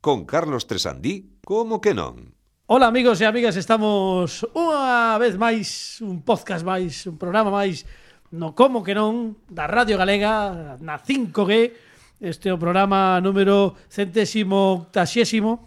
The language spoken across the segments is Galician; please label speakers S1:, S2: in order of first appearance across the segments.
S1: con Carlos Tresandí, como que non?
S2: Ola amigos e amigas, estamos unha vez máis, un podcast máis, un programa máis no Como que non da Radio Galega na 5G. Este é o programa número centésimo octaxésimo.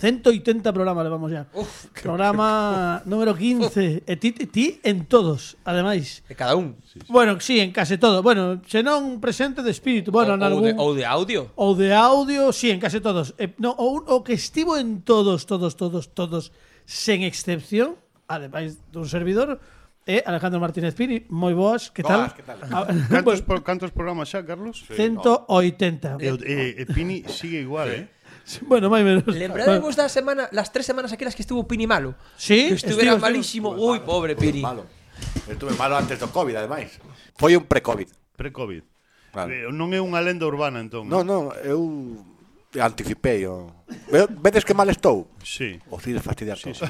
S2: 180 programas levamos ya.
S3: Uf,
S2: programa número 15. E ti, ti- ti en todos, ademais.
S3: De cada un.
S2: Bueno, sí, en case todo. Bueno, senón presente de espírito. Bueno,
S3: ou,
S2: en
S3: ou
S2: algún...
S3: de, ou de audio.
S2: O de audio, sí, en case todos. Eh, no, o, un- o que estivo en todos, todos, todos, todos, sen excepción, ademais dun servidor, é Alejandro Martínez Pini. Moi boas, que tal? Ah, pues,
S4: Boas, que tal?
S2: A-
S4: Cantos, pro, cantos programas xa, Carlos?
S2: 180.
S4: E, e, e Pini sigue igual, eh?
S2: Bueno, máis menos.
S3: Lembrade vos da semana, las tres semanas aquelas que estuvo Pini malo.
S2: Sí,
S3: Que
S2: estivo,
S3: estuvera malísimo. Uy, pobre Pini.
S5: Estuve Malo. Estuve malo antes do COVID, ademais. Foi un pre-COVID.
S4: Pre-Covid.
S5: Claro.
S4: Eh, Non é unha lenda urbana, entón.
S5: Non, non, eu anticipei o... Ve- Vedes que mal estou?
S4: Sí.
S5: O Cid fastidiar todo.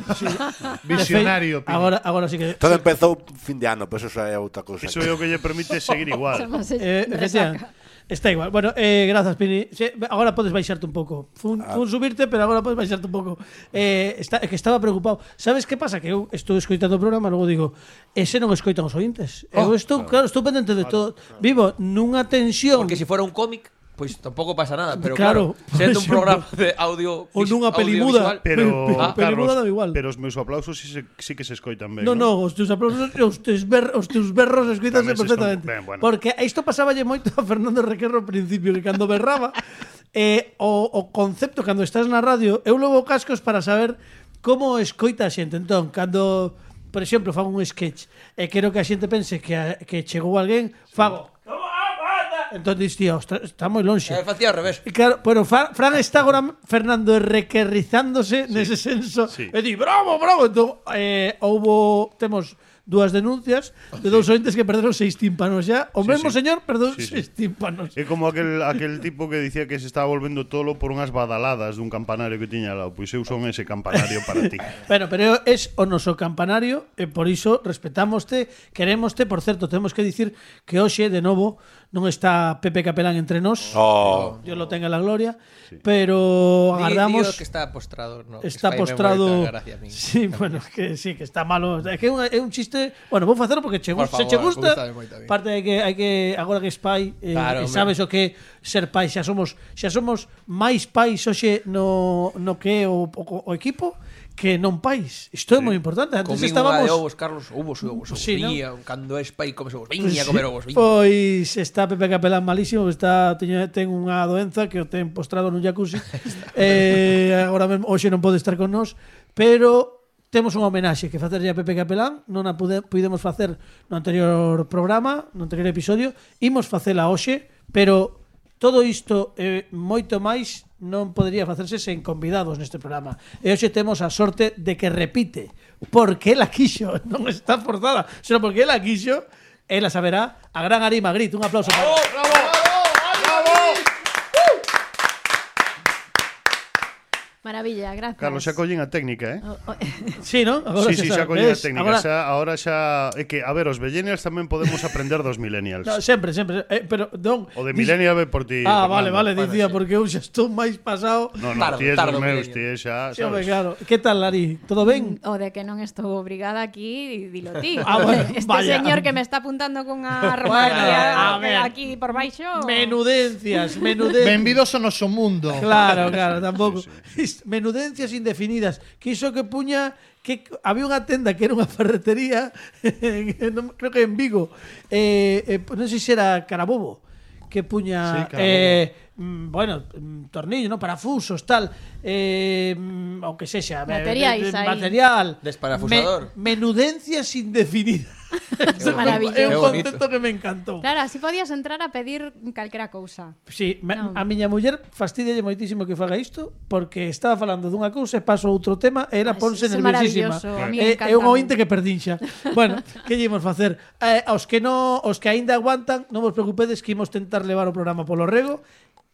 S2: Visionario, Agora, agora sí que...
S5: Todo empezou fin de ano, pois eso é outra cousa.
S4: Iso é o que lle permite seguir igual.
S6: Somos es-
S2: Eh,
S6: resaca.
S2: efectivamente. Está igual. Bueno, eh, grazas, Pini. Sí, agora podes baixarte un pouco. Fun, fun subirte, pero agora podes baixarte un pouco. Eh, está, é que estaba preocupado. Sabes que pasa? Que eu estou escoitando o programa, logo digo, ese non escoitan os ointes. eu estou, Oh, claro, estou pendente de todo. Vivo nunha tensión.
S3: Porque si fuera un cómic, pues tampoco pasa nada. Pero
S2: Claro,
S3: claro,
S2: por
S3: siendo un
S2: ejemplo.
S3: programa de audio.
S2: Ou nunha pelimuda.
S4: Pero,
S3: Ah,
S2: pero
S4: Carlos,
S2: igual dá igual.
S4: pero os meus aplausos sí, se- sí que se escoitan ben.
S2: No, no, os teus aplausos, e os teus, ber, os teus berros escuítanse
S4: Tamén se están-
S2: perfectamente.
S4: ben, bueno.
S2: Porque isto pasáballe moito a Fernando Requerro ao principio, que cando berraba, eh, o, o concepto, cando estás na radio, eu levo cascos para saber como escoita a xente. Entón, cando, por exemplo, fago un sketch e quero que a xente pense que, a, que chegou alguén, fago... Entón, dis, tío, ostra, está moi lonxe.
S3: Eh, facía al revés.
S2: E Claro, bueno, Fra- Fran está agora Fernando requerrizándose nese senso.
S4: sí.
S2: E di, bravo, bravo. Entón, eh, houbo, temos dúas denuncias de dous ointes que perderon seis tímpanos xa. O
S4: Sí,
S2: mesmo
S4: sí.
S2: señor perdeu
S4: Sí, Eh, sí.
S2: seis tímpanos.
S4: É como aquel, aquel tipo que dicía que se estaba volvendo tolo por unhas badaladas dun campanario que tiña ao lado. Pois eu son ese campanario para ti.
S2: Bueno, pero es o noso campanario e por iso respetámoste, querémoste, por certo, temos que dicir que hoxe de novo non está Pepe Capelán entre nós.
S5: Oh,
S2: Dios lo tenga en la gloria, pero
S3: Di-
S2: agardamos
S3: digo que está postrado. no, que
S2: está
S3: fai ben
S2: postrado.
S3: bonita, gracia a min.
S2: Sí, bueno, que sí, que está malo. É que é un, é un chiste, bueno, vou facelo porque che,
S3: Por
S2: gusta- se
S3: favor,
S2: che gusta.
S3: gústame moito a mí.
S2: Parte de que hai que agora que es pai, eh, e
S3: Claro, hombre.
S2: sabes o que é ser pai, xa somos, xa somos máis pais hoxe no no que é o, o, o equipo que non pais. Isto é moi importante. Antes
S3: Comín unha
S2: estábamos
S3: de ovos, Carlos, ovos, ovos, ovos.
S2: Sí, ¿no?
S3: viña, cando es pai comes ovos.
S2: Pois
S3: Viña
S2: sí. Pues,
S3: comer ovos, viña.
S2: Pois está Pepe Capelán malísimo, está teño, ten unha doenza que o ten postrado nun jacuzzi. eh, agora mesmo hoxe non pode estar con nós, pero temos unha homenaxe que facerlle a Pepe Capelán, non a pude, pudemos facer no anterior programa, no anterior episodio, imos facela hoxe, pero todo isto e moito máis non podería facerse sen convidados neste programa. E hoxe temos a sorte de que repite, porque ela quixo, non está forzada, senón porque ela quixo, ela saberá a gran Arima Grit. Un aplauso para ela.
S6: Maravilla, gracias.
S4: Carlos, xa collen a técnica, eh?
S6: O- o-
S2: Sí, non? Agora
S4: Sí, sí, xa
S2: sabe.
S4: coñen a
S2: Ves?
S4: técnica.
S2: Agora-
S4: Xa, ahora xa... É que, a ver, os millennials tamén podemos aprender dos millennials.
S2: No, sempre, sempre. Eh, pero, non,
S4: O de
S2: dis-
S4: millennial ve por ti.
S2: Ah,
S4: Fernando.
S2: vale, vale,
S3: Bueno,
S2: dicía,
S3: sí.
S2: porque eu xa estou máis pasado.
S4: No, no,
S3: Tardo,
S4: ti es
S3: tardo,
S4: dos
S3: millennial.
S4: meus, ti es xa,
S2: Sí, hombre,
S4: sabes.
S2: claro. Que tal, Lari? Todo ben?
S6: O de que non estou obrigada aquí, dilo ti.
S2: Ah, bueno,
S6: este
S2: vaya.
S6: señor que me está apuntando cunha
S2: Bueno, a
S6: romaría
S2: ver.
S6: aquí por baixo.
S2: Menudencias, menudencias.
S7: Benvidos ao noso mundo.
S2: Claro, claro, tampouco. Isto, Menudencias indefinidas. Quiso que puña que había unha tenda que era unha ferretería, en- non- creo que en Vigo. Eh, eh, non sei se era Carabobo que puña
S4: Sí, Carabobo.
S2: eh, mm, bueno, mm, tornillo, no, parafusos, tal, eh, mm, o que sexa, eh,
S6: Materiais
S2: eh,
S6: aí.
S2: material,
S3: Desparafusador.
S2: Me- menudencias indefinidas.
S6: Qué maravilla.
S2: É un
S3: Qué bonito.
S2: concepto que me encantou.
S6: Claro, así podías entrar a pedir calquera cousa.
S2: Sí, me,
S6: Non.
S2: a miña muller fastidialle moitísimo que faga isto porque estaba falando dunha cousa e paso a outro tema e ela
S6: Ah,
S2: ponse
S6: iso é
S2: nerviosísima. Eh,
S6: maravilloso, a mí
S2: É, é
S6: encántame.
S2: un ointe que perdín xa. bueno, que lle imos facer? Eh, aos que no, os que aínda aguantan, non vos preocupedes que imos tentar levar o programa polo rego.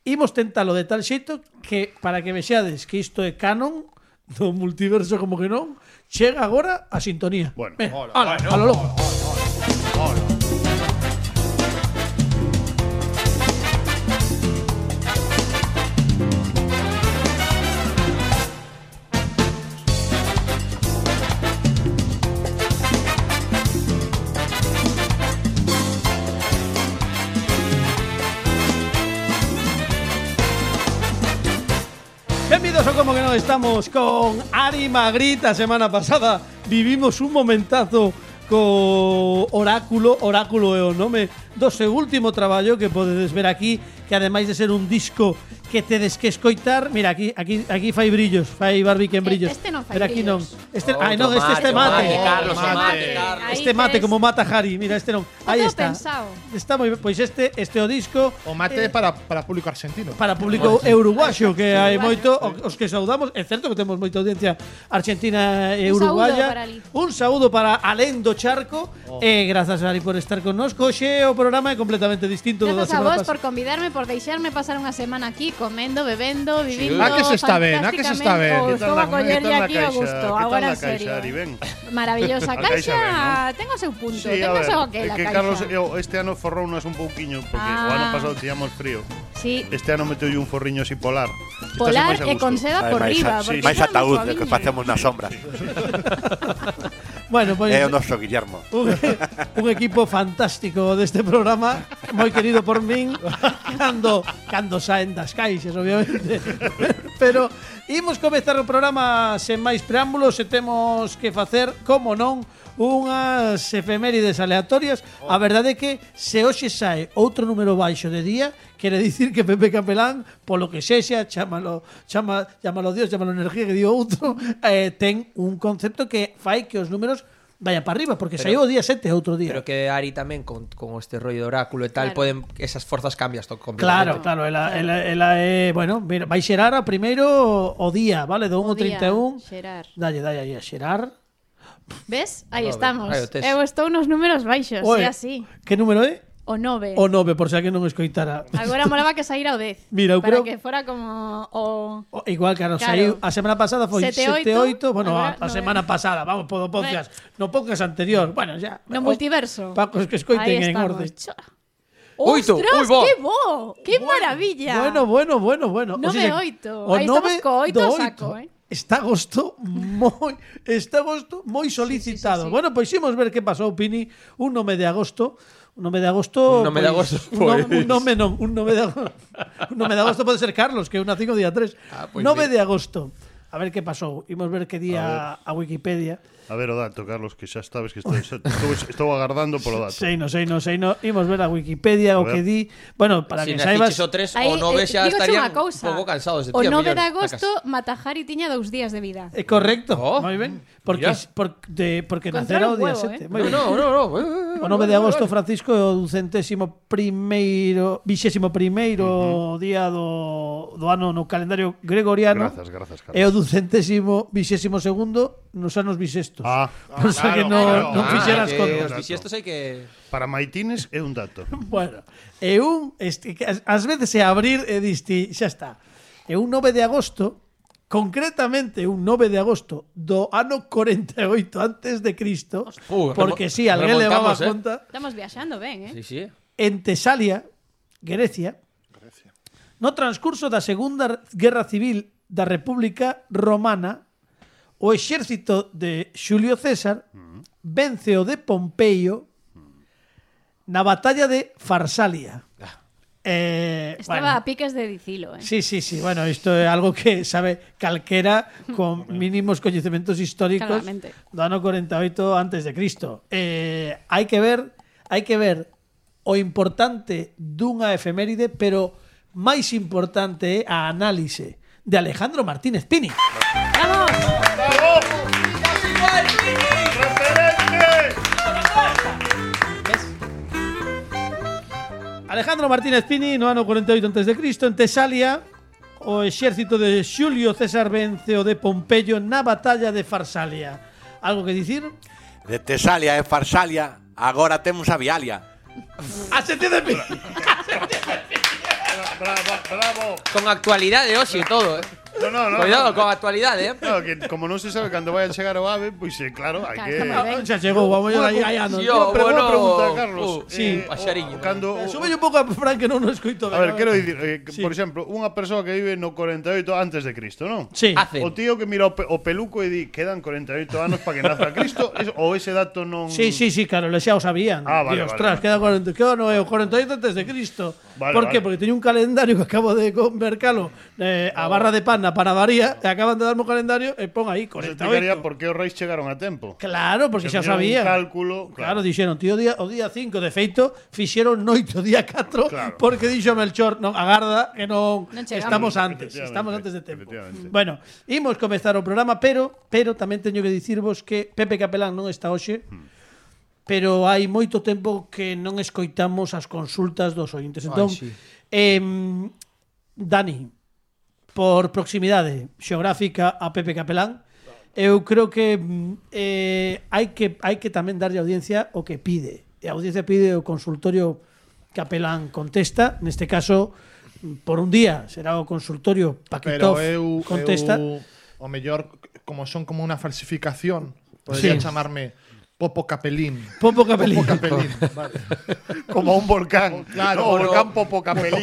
S2: Imos tentalo de tal xeito que para que vexades que isto é canon do multiverso como que non, chega agora a sintonía.
S4: Bueno,
S2: Ven, ala, a lo loco.
S4: Hola.
S2: Benvidos ao Como que non estamos con Ari Magritte A semana pasada vivimos un momentazo co Oráculo Oráculo é o nome do seu eh, último traballo que podedes ver aquí Que ademais de ser un disco que tedes que escoitar Mira, aquí aquí aquí fai brillos, fai Barbie que en
S6: E-
S2: brillos
S6: este non fai
S2: Pero aquí non
S6: brillos.
S2: Este,
S3: Outro
S2: ai, non, este, este mate,
S3: Oh, mate,
S2: mate.
S3: Carlos,
S4: mate.
S6: Ahí
S2: Este mate
S6: tres.
S2: como mata Harry, mira, este non. Aí
S6: tengo
S2: está.
S6: pensado.
S2: Está moi ben. Pois este este é o disco eh,
S7: O mate para, para público argentino.
S2: para público uruguayo que hai
S6: Uruguayo.
S2: moito o- os que saudamos, é certo que temos moita audiencia argentina e
S6: Un saúdo para
S2: uruguaya.
S6: ali.
S2: Un saúdo para Alén do Charco
S7: Oh.
S2: e grazas Ari por estar connosco. Hoxe o programa é completamente distinto do da
S6: Gracias a
S2: semana
S6: vos
S2: pasada.
S6: por convidarme, por deixarme pasar unha semana aquí comendo, bebendo, vivindo
S7: Ah, que se está ben, ah, que se está ben.
S6: fantásticamente.
S7: Que
S6: Os vou a collerlle aquí
S4: a
S6: o gusto, agora en serio.
S4: Ari, ven.
S6: Maravillosa
S4: A
S6: caixa,
S4: caixa ben,
S6: ten o seu punto,
S4: Sí, a
S6: ten o
S4: ver,
S6: seu aquel
S4: é
S6: a
S4: que
S6: caixa.
S4: Carlos eu, este ano forrounos un pouquiño porque o
S6: Ah.
S4: ano pasado tiñamos frío.
S6: Sí,
S4: Este ano meteu un forriño así polar. Estás
S6: polar
S4: máis a
S6: e
S4: gusto.
S6: con seda por
S5: máis,
S6: riba,
S4: sí.
S6: porque
S5: máis
S6: son moi
S5: ataúd de que
S6: suaviños.
S5: facemos nas sombras.
S2: Bueno, pois
S5: É o noso Guillermo.
S2: un, un equipo fantástico deste programa moi querido por min cando cando saen das caixas, obviamente. Pero imos comezar o programa sen máis preámbulos e temos que facer, como non, unhas efemérides aleatorias. A verdade é que se hoxe sae outro número baixo de día, quere dicir que Pepe Capelán, polo que sexa, chámalo, chama, chámalo Dios, chámalo energía que dio outro, eh, ten un concepto que fai que os números Vaya para arriba, porque saiu o día 7 e outro día.
S3: Pero que Ari tamén con, con este rollo de oráculo e tal
S6: Claro.
S3: poden esas forzas cambias to
S2: Claro,
S3: completamente.
S2: claro, ela, ela, ela é, bueno, mira, vai xerar a primeiro o día, vale, do 1 ao
S6: O día,
S2: 31.
S6: xerar.
S2: Dalle, dalle aí a xerar.
S6: Ves? Aí
S3: Nove.
S6: estamos.
S3: Aí o tes.
S6: Eu estou nos números baixos,
S2: Oe,
S6: é así. Eh.
S2: Que número é?
S6: O 9.
S2: O 9, por se a que non escoitara.
S6: Agora molaba que saíra o 10.
S2: Mira, eu creo-
S6: para que fora como o
S2: O- Igual que a nos
S6: Claro.
S2: saiu a semana pasada foi
S6: Sete, oito, eh.
S2: 7 8, bueno, a,
S6: agora
S2: a
S6: nove.
S2: semana pasada, vamos, podo podcast, no podcast anterior, bueno, ya.
S6: no
S2: O-
S6: multiverso.
S2: Pacos Oh, que
S6: Aí
S2: escoiten en
S6: estamos.
S2: orde.
S6: Cho-
S3: Oito,
S6: ¡Ostras,
S3: ui, bo.
S6: qué bo! ¡Qué maravilla!
S2: Bueno, bueno, bueno, bueno.
S6: Nove,
S2: sea,
S6: oito.
S2: o
S6: Aí estamos
S2: nove
S6: co oito
S2: do
S6: a saco,
S2: oito.
S6: eh.
S2: Está agosto moi está agosto moi solicitado.
S6: sí, sí, sí.
S2: Bueno, pues pois imos ver que pasou Pini un nome de agosto. Un nome de agosto. pues,
S3: Un nome de agosto, pues.
S2: un, no-
S3: pois.
S2: un nome non, un nome de agosto. un nome de agosto pode ser Carlos, que eu nací o día 3.
S3: Ah, pois
S2: nome
S3: mira.
S2: de agosto. A ver que pasou. Imos ver que día a, Wikipedia.
S4: A ver o dato, Carlos, que xa sabes que estou, estou, estou agardando polo dato.
S2: Sei, no, sei, no, sei, no. Imos ver a Wikipedia o
S4: A
S2: que
S4: ver.
S2: di. Bueno, para
S3: Si
S2: que
S3: naciches
S2: saibas.
S3: o 3
S6: Aí,
S3: o 9
S6: eh,
S3: xa
S6: dígoche
S3: estarían
S6: unha cousa.
S3: un pouco cansados de ti. a
S6: O 9
S3: mellor,
S6: de
S3: na
S6: agosto,
S3: casa.
S6: Matajari tiña dous días de vida.
S2: É correcto,
S3: Oh,
S2: moi ben. Porque
S3: mira.
S2: por, de, porque nacera o
S6: Controla un
S2: día
S6: huevo,
S2: 7.
S6: eh.
S2: Moi ben.
S3: No, no, no.
S2: O 9 de agosto Francisco é o ducentésimo primeiro, vixésimo primeiro día do, do ano no calendario gregoriano.
S4: Grazas, grazas, Carlos.
S2: É o ducentésimo vixésimo segundo nos anos bisestos.
S4: Ah,
S2: O sea que non-
S4: claro.
S2: non
S4: Ah,
S2: fixeras
S4: que-
S2: contas.
S3: Os bisiestos hai que...
S4: Para maitines é un dato.
S2: Bueno, é un este, que as- ás veces é abrir e diste, xa está. É un 9 de agosto, concretamente un 9 de agosto do ano 48 antes de Cristo,
S3: Uh,
S2: porque
S3: remo-
S2: si alguén levaba
S3: remontamos, eh.
S2: conta,
S6: Estamos viaxando ben, eh?
S3: Sí, sí.
S2: en Tesalia, Grecia, no transcurso da Segunda Guerra Civil da República Romana, o exército de Xulio César vence o de Pompeio na batalla de Farsalia. Eh,
S6: Estaba a piques de dicilo, eh?
S2: Sí, sí, sí. Bueno, isto é algo que sabe calquera con mínimos coñecementos históricos
S6: Claramente.
S2: do ano 48 antes de Cristo. Eh, hai que ver, hai que ver o importante dunha efeméride, pero máis importante é a análise de Alejandro Martínez Pini.
S6: ¡Vamos!
S2: Alejandro Martínez Pini, no ano 48 antes de Cristo, en Tesalia, o exército de Xulio César vence o de Pompeyo na batalla de Farsalia. Algo que dicir?
S5: De Tesalia e Farsalia, agora temos a Vialia.
S2: A sentido de Pini.
S4: Bravo, bravo.
S3: Con actualidade hoxe e todo, eh.
S4: No, no, no.
S3: Cuidado con actualidade, eh.
S4: Claro, que como non se sabe cando vai a chegar o ave, pois eh, claro, hai que...
S6: Claro,
S2: Ah, Xa chegou, vamos aí, aí ando.
S3: Yo,
S4: Pero
S3: bueno,
S4: bueno, a pregunta, Carlos.
S3: uh,
S2: sí,
S3: paxariño.
S4: o- Cando,
S2: Eh, Súbelle un pouco a Fran que non o escoito.
S4: a
S2: ben,
S4: ver, quero dicir, eh, que,
S2: Sí.
S4: por exemplo, unha persoa que vive no 48 antes de Cristo, non?
S2: Sí.
S3: Hace.
S4: O tío que mira o, pe- o peluco e di quedan 48 anos para que nazca Cristo, es, o ese dato non...
S2: Sí, sí, sí, claro, le xa o sabían.
S4: Ah, vale,
S2: Dios,
S4: vale,
S2: ostras,
S4: vale.
S2: queda 40, que ano é o 48 antes de Cristo.
S4: Vale,
S2: Por que?
S4: vale. Ah.
S2: Porque teño un calendario que acabo de mercalo eh, a barra de pan na da panadería e acaban de darme o calendario e pon aí
S4: Nos explicaría
S2: 48.
S4: por que os Reis chegaron a tempo.
S2: Claro, porque
S4: Se
S2: xa
S4: fixeron un
S2: sabían.
S4: cálculo,
S2: Claro,
S4: claro.
S2: dixeron, tío, o día, o día 5, de feito, fixeron noite o día 4,
S4: Claro.
S2: porque dixo a Melchor, non, agarda, que non,
S6: Non chegamos.
S2: estamos antes,
S4: Efectivamente,
S2: estamos antes de tempo.
S4: efectivamente.
S2: Bueno, imos comezar o programa, pero pero tamén teño que dicirvos que Pepe Capelán non está hoxe,
S4: Hmm.
S2: pero hai moito tempo que non escoitamos as consultas dos ointes. Entón,
S3: Ai, sí.
S2: em, Dani, por proximidade xeográfica a Pepe Capelán, eu creo que mm, eh, hai que hai que tamén darlle a audiencia o que pide. E a audiencia pide o consultorio Capelán contesta, neste caso mm, por un día será o consultorio
S7: Pero
S2: Paquitov
S7: eu,
S2: contesta.
S7: eu, o mellor, como son como unha falsificación,
S2: Sí.
S7: podría chamarme Popo Capelín.
S2: Popo Capelín.
S7: Popo Capelín, vale.
S4: Como un volcán.
S7: Claro,
S4: o
S7: pero-
S4: volcán Popocapelí.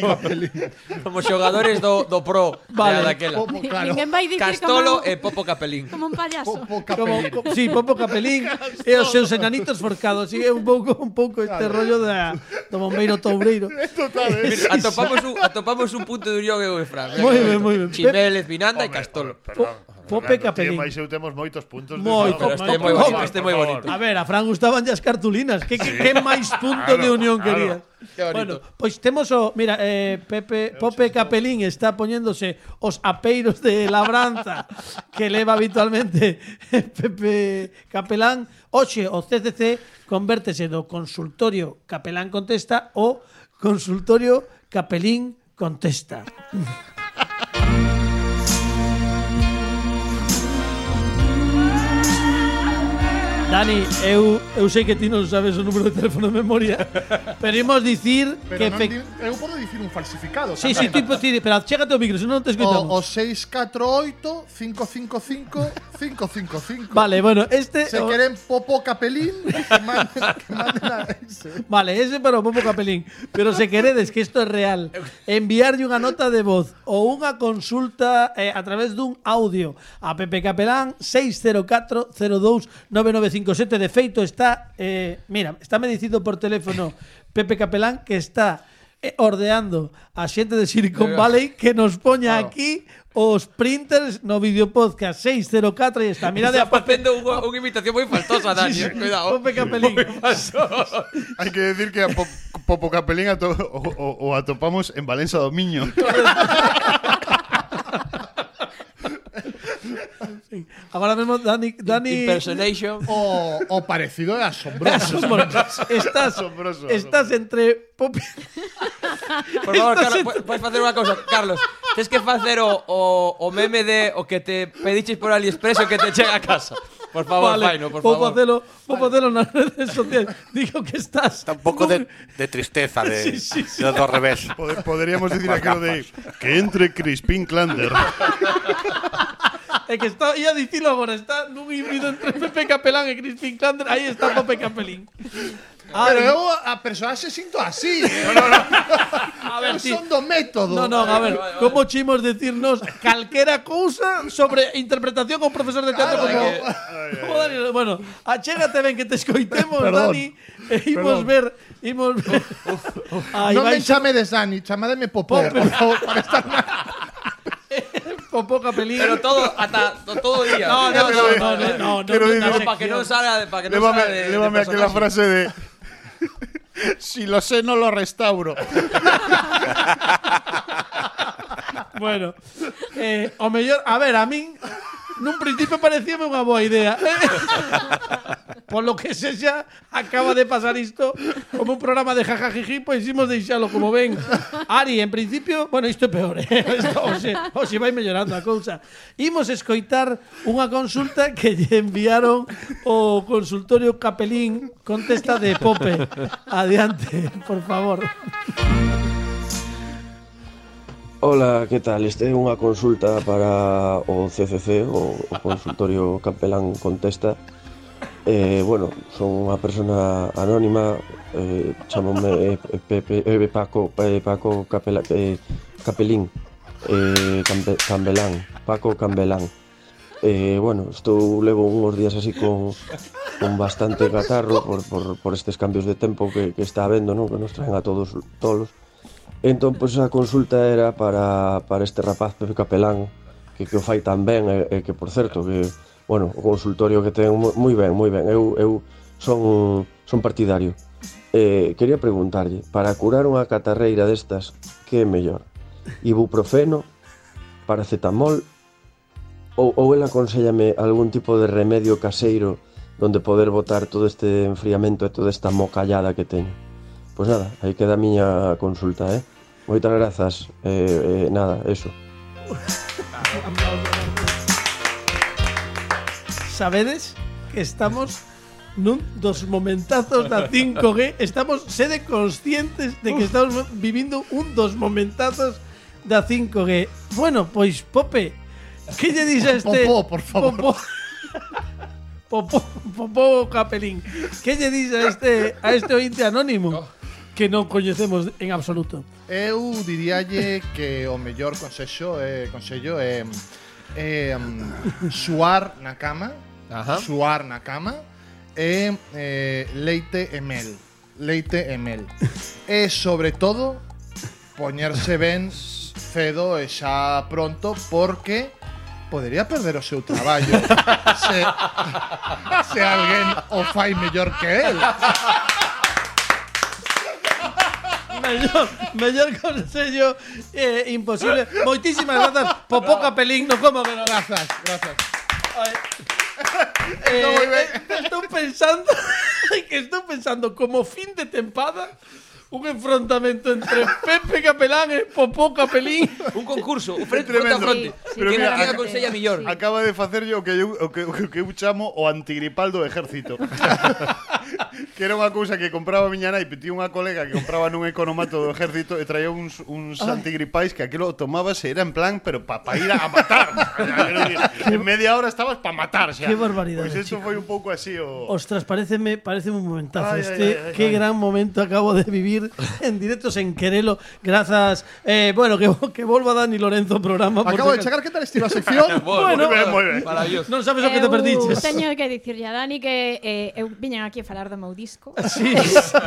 S3: Como xogadores do, do pro
S2: Vale.
S3: vale. daquela.
S7: Popo, claro.
S6: Ninguén vai dicir
S3: Castolo
S6: como,
S3: e Popo Capelín.
S6: como un payaso.
S7: Popo
S2: Como,
S7: Capelín.
S2: co- sí, Popo Capelín e os seus enanitos forcados. Sí, é un pouco un pouco este rollo da, do bombeiro toureiro.
S3: Mira, Atopamos un, atopamos un punto de unión eu e Fran.
S2: Moi ben, moi ben.
S3: Chimel, Espinanda e Castolo.
S2: Pope
S4: Pope
S2: Capelín.
S4: Mas eu temos moitos puntos. de
S2: Moito, pero
S4: favor,
S2: este é
S4: por
S2: moi
S4: favor,
S2: bonito,
S3: este é
S4: por
S3: moi
S4: favor.
S3: bonito.
S7: Ah,
S2: A ver, a Fran gustaban as cartulinas. Que, que, que máis punto de
S4: Claro,
S2: unión
S4: claro.
S2: querías?
S7: Qué bonito.
S2: Bueno, pois temos o, mira, eh, Pepe, Pope Capelín está poñéndose os apeiros de labranza que leva habitualmente Pepe Capelán. Oxe, o CCC convértese do consultorio Capelán contesta o consultorio Capelín contesta. Dani, eu, eu sei que ti non sabes o número de teléfono de memoria, pero imos dicir
S7: Pero
S2: que...
S7: non
S2: efec-
S7: di- eu podo dicir un falsificado.
S2: Sí, sí, tú
S7: tamén.
S2: imos dicir, pero achégate ao micro, senón non te escoitamos.
S7: O, o 648 555 555.
S2: Vale, bueno, este...
S7: Se
S2: o-
S7: queren Popo Capelín, que manden, que manden a ese.
S2: Vale, ese para o Popo Capelín. Pero se queredes que isto é real, enviarlle unha nota de voz ou unha consulta eh, a través dun audio a Pepe Capelán 604-02-9957. De feito, está... Eh, mira, está dicindo por teléfono Pepe Capelán que está eh, ordeando a xente de Silicon Valley que nos poña aquí os printers no videopodcast 604 e está mirade
S3: Está
S2: a Pepe,
S3: facendo unha, unha imitación moi faltosa, Dani.
S2: Sí, sí.
S3: eh, Cuidado.
S2: Pope Capelín.
S4: Hai que decir que a Po- Popocapelín ato- o, o- o atopamos en Valença do Miño.
S2: Agora mesmo Dani, Dani
S3: Impersonation.
S7: O, o parecido é asombroso.
S2: Bueno, estás,
S4: Asombroso,
S2: estás entre pop
S3: Por favor,
S2: Estás
S3: Carlos, po- podes facer unha cousa. Carlos, tens que facer o, o, o meme de o que te pediches por AliExpress o que te chega a casa. Por favor,
S2: vale,
S3: faino, por
S2: vou
S3: favor.
S2: facelo, vou facelo nas redes sociais. Digo que estás
S5: Tampoco de, de tristeza, de,
S2: Sí, sí, sí.
S5: de dos revés.
S4: Pod- Poderíamos decir aquello de que entre Crispín Klander.
S2: Ah, É que está, ia dicilo agora, está nun híbrido entre Pepe Capelán e Crispin Klander, aí está Pepe Capelín. A
S7: Pero
S2: ver,
S7: eu a personaxe sinto así.
S2: a
S7: Eu
S2: ver, ti,
S7: son do método.
S2: No, no, a ver,
S3: Vale, vale.
S2: como chimos decirnos calquera cousa sobre interpretación con profesor de teatro
S7: Claro,
S2: como...
S7: é
S2: como Dani, bueno, achégate ben que te escoitemos,
S7: Perdón.
S2: Dani, e
S7: Perdón.
S2: imos ver, imos ver... Aí
S7: non me
S2: vai
S7: chamedes Dani, chamademe Popó,
S2: Pope.
S7: por favor, para estar máis
S2: con poca pelín.
S3: Pero todo, ata to- todo o día.
S2: No, no, no, no, no, no,
S4: Pero
S2: no,
S4: dime,
S2: no, no,
S3: para que non salga, para que non
S4: Lévame,
S3: salga de, de
S4: lévame
S2: este
S4: aquella
S3: personaxe.
S4: frase de Si lo sé no lo restauro.
S2: Bueno, eh, o mellor, a ver, a min nun principio parecíame unha boa idea. Por lo que se xa acaba de pasar isto como un programa de jajajiji, pois hicimos deixalo como ven. Ari, en principio, bueno, isto é peor, eh? Isto, oxe, oxe vai mellorando a cousa. Imos escoitar unha consulta que lle enviaron o consultorio Capelín contesta de Pope. Adiante, por favor.
S8: Ola, que tal? Este é unha consulta para o CCC, o, o consultorio Capelán Contesta. Eh, bueno, son unha persona anónima, eh, chamome eh, Pepe, eh, Paco, eh, Paco Capela, eh, Capelín, eh, Cambe, Cambelán, Paco Cambelán. Eh, bueno, estou levo uns días así con, con bastante catarro por, por, por estes cambios de tempo que, que está habendo, non? que nos traen a todos tolos. Entón, pois, a consulta era para, para este rapaz Pepe Capelán que, que o fai tan ben e, e que, por certo, que, bueno, o consultorio que ten mu- moi ben, moi ben. Eu, eu son, son partidario. Eh, quería preguntarlle, para curar unha catarreira destas, que é mellor? Ibuprofeno, paracetamol ou, ou el aconsellame algún tipo de remedio caseiro donde poder botar todo este enfriamento e toda esta mocallada que teño. Pois nada, aí queda a miña consulta, eh? Moitas grazas, eh, eh, nada, eso.
S2: Sabedes que estamos nun dos momentazos da 5G, estamos sede conscientes de que estamos vivindo un dos momentazos da 5G. Bueno, pois Pope, que lle dis a este
S7: Popó, por favor.
S2: Popó, Popó, Popó Capelín. Que lle dis a este a este ointe anónimo que non coñecemos en absoluto.
S7: Eu diríalle que o mellor consello é consello é é mm, suar na cama,
S3: Ajá.
S7: suar na cama e eh, leite e mel, leite e mel. e sobre todo poñerse ben cedo e xa pronto porque podería perder o seu traballo se, se alguén o fai mellor que el.
S2: Mellor, mellor consello eh, imposible. Moitísimas grazas. Popó Capelín, no como que non.
S7: Grazas, grazas.
S2: Eh,
S7: moi ben.
S2: eh, estou pensando que estou pensando como fin de tempada un enfrontamento entre Pepe Capelán e Popó Capelín.
S3: Un concurso, un frente
S4: Tremendo.
S3: contra fronte.
S6: Sí, sí,
S4: Pero
S3: ¿Quién
S4: mira,
S3: acaba
S4: acá-
S3: con sella millón?
S6: Sí.
S4: Acaba de facerlle o que eu, o que, o que, o que eu chamo o antigripal do ejército. que era unha cousa que compraba a miña nai, tiña unha colega que compraba nun economato do ejército e traía uns, uns antigripais que aquilo o tomabas e era en plan, pero para pa ir a matar. Quero dicir, en media hora estabas para matar xa.
S2: Que barbaridade,
S4: Pois isto foi un pouco así o...
S2: Ostras, pareceme, parece un momentazo
S4: Ay, ay,
S2: este.
S4: ay, ay,
S2: qué
S4: ay.
S2: gran momento acabo de vivir en directos en Querelo. Gracias. Eh, bueno, que, que vuelva Dani Lorenzo ao programa. por
S7: Acabo de
S2: si
S7: chegar, que tal estive a sección?
S2: bueno.
S4: moi ben, moi ben.
S2: acaso.
S3: Maravilloso.
S2: Non sabes o que te
S6: Eu
S2: perdiches.
S6: Teño que dicirlle a Dani que eh, eu viñan aquí a falar do meu disco.
S2: Sí.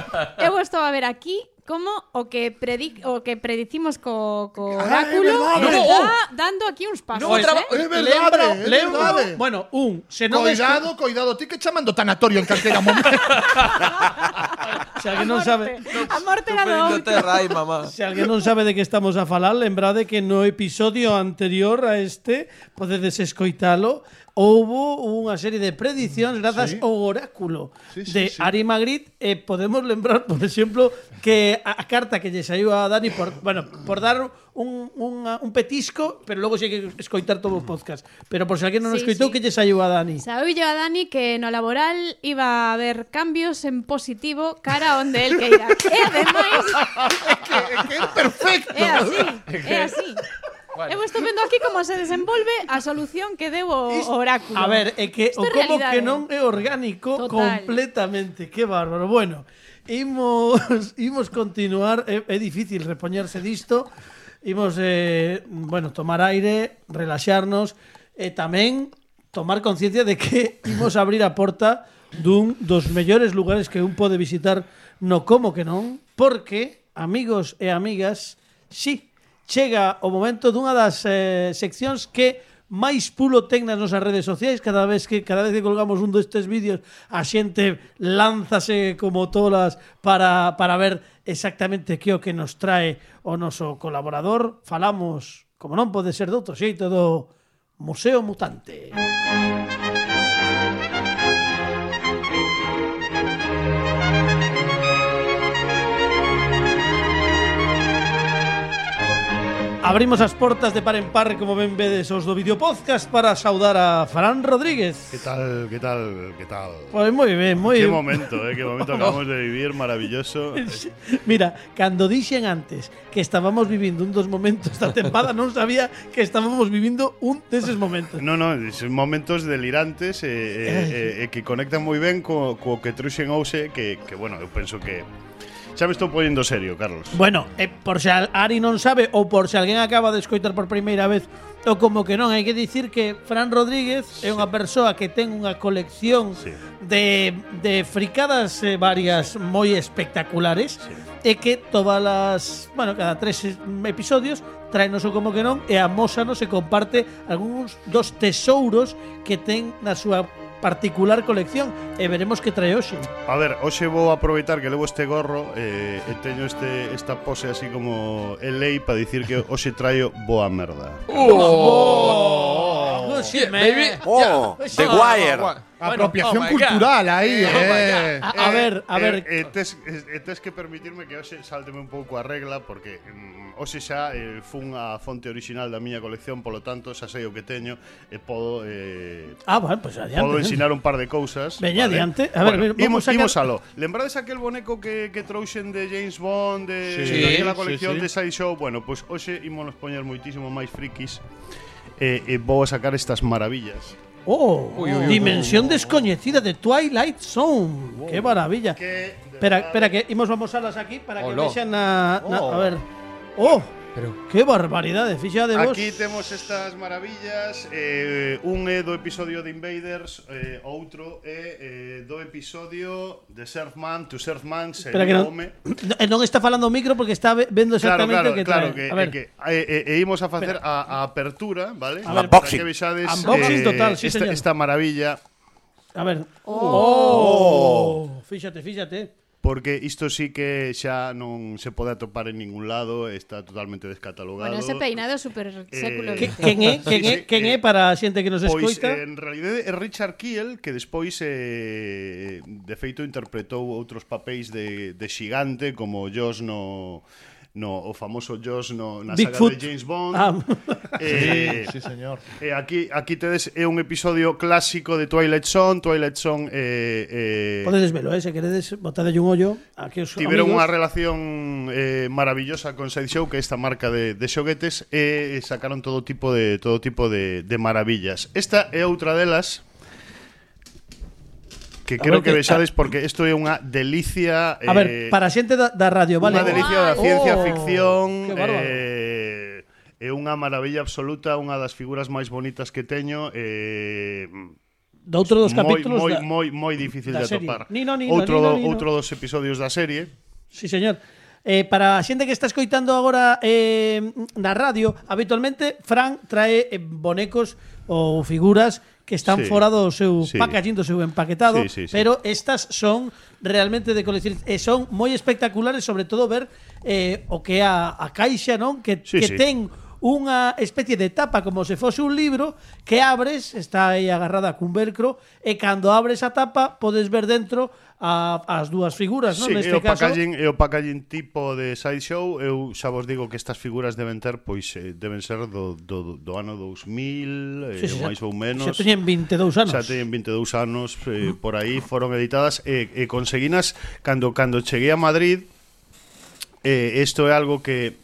S6: eu estou a ver aquí como o que predic o que predicimos co, co
S7: Ah, é
S6: oráculo
S7: verdade.
S6: está
S3: No,
S2: oh.
S6: dando aquí uns pasos,
S3: No, traba-
S7: É
S6: eh?
S7: verdade, é
S2: Lembro-
S7: verdade.
S2: bueno, un, se non
S7: Coidado, coidado, ti que chaman do tanatorio en calquera momento.
S2: desco- se alguén non sabe,
S6: A morte era do
S3: Estupendo
S6: outro.
S3: terra, ay, mamá.
S2: Se alguén non sabe de que estamos a falar, lembrade que no episodio anterior a este, podedes escoitalo, houbo unha serie de predicións grazas ao oráculo
S7: Sí, sí,
S2: de
S7: sí.
S2: Ari Magritte e podemos lembrar, por exemplo, que a a carta que lle saiu a Dani por, bueno, por dar un, unha- un petisco, pero logo xe que escoitar todo o podcast. Pero por se alguén non
S6: Sí,
S2: escoitou,
S6: sí.
S2: que lle saiu a Dani?
S6: Saúllo a Dani que no laboral iba a haber cambios en positivo cara onde el queira. E ademais,
S7: que, que é perfecto.
S6: é así, é así. Eu estou vendo aquí como se desenvolve a solución que deu o o oráculo.
S2: A ver, é que o
S6: Isto é
S2: como
S6: realidade.
S2: que non é orgánico
S6: Total.
S2: completamente, que bárbaro. Bueno, imos imos continuar, é, é difícil repoñerse disto. Imos eh, bueno, tomar aire, relaxarnos e tamén tomar conciencia de que imos abrir a porta dun dos mellores lugares que un pode visitar no como que non, porque amigos e amigas, sí, chega o momento dunha das eh, seccións que máis pulo ten nas nosas redes sociais cada vez que cada vez que colgamos un destes vídeos a xente lánzase como tolas para, para ver exactamente que o que nos trae o noso colaborador falamos como non pode ser de outro xeito do Museo Mutante Abrimos as portas de par en par como ben vedes os do videopodcast para saudar a Fran Rodríguez
S4: Que tal, que tal, que tal?
S2: Pois moi ben, moi
S4: Que momento, eh, que momento acabamos de vivir, maravilloso.
S2: Mira, cando dixen antes que estábamos vivindo un dos momentos da tempada, non sabía que estábamos vivindo un deses momentos.
S4: No, no, son momentos delirantes e, e, e, e que conectan moi ben co, co que truxen ouse que, que bueno, eu penso que Xa me estou poñendo serio, Carlos.
S2: Bueno, eh, por se al- Ari non sabe ou por se alguén acaba de escoitar por primeira vez ou como que non, hai que dicir que Fran Rodríguez é unha persoa que ten unha colección
S4: Sí.
S2: de, de fricadas eh, varias moi espectaculares e que todas as, bueno, cada tres eh, episodios traenos o como que non e amósanos e comparte algúns dos tesouros que ten na súa particular colección e veremos que trae hoxe.
S4: A ver, hoxe vou aproveitar que levo este gorro eh, e teño este, esta pose así como el lei para dicir que hoxe traio boa merda.
S2: Oh, sí,
S3: Yeah,
S2: me-
S3: baby.
S5: Oh,
S2: Yeah.
S5: The Wire.
S7: Apropiación
S3: oh my God.
S7: cultural ahí, eh.
S2: A, a ver, a
S4: eh,
S2: ver,
S4: Eh, tes, eh, tes que permitirme que hoxe sálteme un pouco a regla porque mm, hoxe xa eh, fun a fonte original da miña colección, polo tanto xa sei o que teño e podo eh,
S2: Ah, bueno, pues adiante.
S4: Podo ensinar un par de cousas.
S2: Veña adiante. A ver, ver, vamos
S4: imos,
S2: sacar-
S4: imos alo. Lembrades aquel boneco que, que trouxen de James Bond, de,
S7: Sí,
S4: de
S7: sí,
S4: aquela colección
S7: sí.
S4: de Sideshow? Bueno, pois pues, hoxe ímonos poñer moitísimo máis frikis e, e vou a sacar estas maravillas.
S2: Oh,
S3: Uy, uy, uy.
S2: dimensión desconocida de Twilight Zone. Qué maravilla.
S4: Que, de
S2: Espera,
S4: verdade,
S2: espera que imos vamos alas aquí para que
S3: Oló.
S2: vexan na, na-
S7: Oh.
S2: a ver. Oh,
S3: Pero-
S2: qué barbaridad de ficha de vos.
S4: Aquí temos estas maravillas eh, Un é do episodio de Invaders eh, Outro é eh, do episodio de Surfman to Surfman
S2: Espera que non,
S4: Home.
S2: no, eh, non está falando o micro porque está ve- vendo
S4: Claro,
S2: exactamente
S4: claro,
S2: o que
S4: claro,
S2: trae.
S4: que,
S2: a ver.
S4: que e, e- e imos a facer a, a apertura, vale?
S2: A ver.
S4: Para
S5: Unboxing.
S4: que vexades, eh,
S2: Unboxing total, sí,
S4: esta,
S2: señor.
S4: esta maravilla,
S2: A ver. Oh. Fíjate, fíjate.
S4: porque isto sí que xa non se pode atopar en ningún lado, está totalmente descatalogado.
S6: Bueno, ese peinado super
S4: Eh,
S6: século
S2: Que-
S6: XX.
S2: Quen é? Quen é?
S4: Sí, sí,
S2: Quen é
S4: eh,
S2: para a xente que nos
S4: Pois
S2: escoita?
S4: eh, en realidade é Richard Kiel que despois eh, de feito interpretou outros papéis de, de xigante como Josh no no o famoso Josh no na saga
S2: Bigfoot.
S4: de James Bond.
S2: Ah,
S4: eh,
S7: Sí, señor.
S4: Eh, aquí aquí tedes é un episodio clásico de Twilight Zone, Twilight Zone eh, eh,
S2: podedes velo, eh, se queredes botadelle un ollo aquí os
S4: tiveron
S2: amigos.
S4: unha relación eh, maravillosa con Sideshow, que é esta marca de, de xoguetes, e sacaron todo tipo de todo tipo de, de maravillas. Esta é outra delas que
S2: A
S4: creo
S2: ver
S4: que
S2: que-
S4: vexades porque isto é unha delicia
S2: A ver,
S4: eh,
S2: para a xente da, da radio, vale.
S4: Unha delicia da
S2: Guau.
S4: ciencia
S2: Oh,
S4: ficción.
S2: que bárbaro.
S4: eh, é unha maravilla absoluta, unha das figuras máis bonitas que teño. Eh,
S2: Do outro dos
S4: moi,
S2: capítulos
S4: moi,
S2: da-
S4: moi, moi difícil
S2: da
S4: de
S2: serie.
S4: atopar.
S2: Nino, nino,
S4: outro,
S2: nino,
S4: do-
S2: nino.
S4: outro dos episodios da serie.
S2: Sí, señor. Eh, para a xente que está escoitando agora eh, na radio, habitualmente Fran trae eh, bonecos ou figuras que están
S4: Sí.
S2: fora do seu
S4: Sí.
S2: packaging, do seu empaquetado,
S4: Sí, sí, sí.
S2: pero estas son realmente de colección e son moi espectaculares, sobre todo ver eh, o que é a, a caixa, non? Que,
S4: Sí,
S2: que
S4: sí.
S2: ten unha especie de tapa como se fose un libro que abres, está aí agarrada cun velcro e cando abres a tapa podes ver dentro a, as dúas figuras, non?
S4: Sí, é, o packaging, é o packaging tipo de Sideshow. Eu xa vos digo que estas figuras deben ter, pois, eh, deben ser do, do, do ano 2000, eh, máis ou menos.
S2: Xa teñen 22 anos.
S4: Xa teñen 22 anos eh, por aí, foron editadas e, e conseguinas cando cando cheguei a Madrid eh, isto é algo que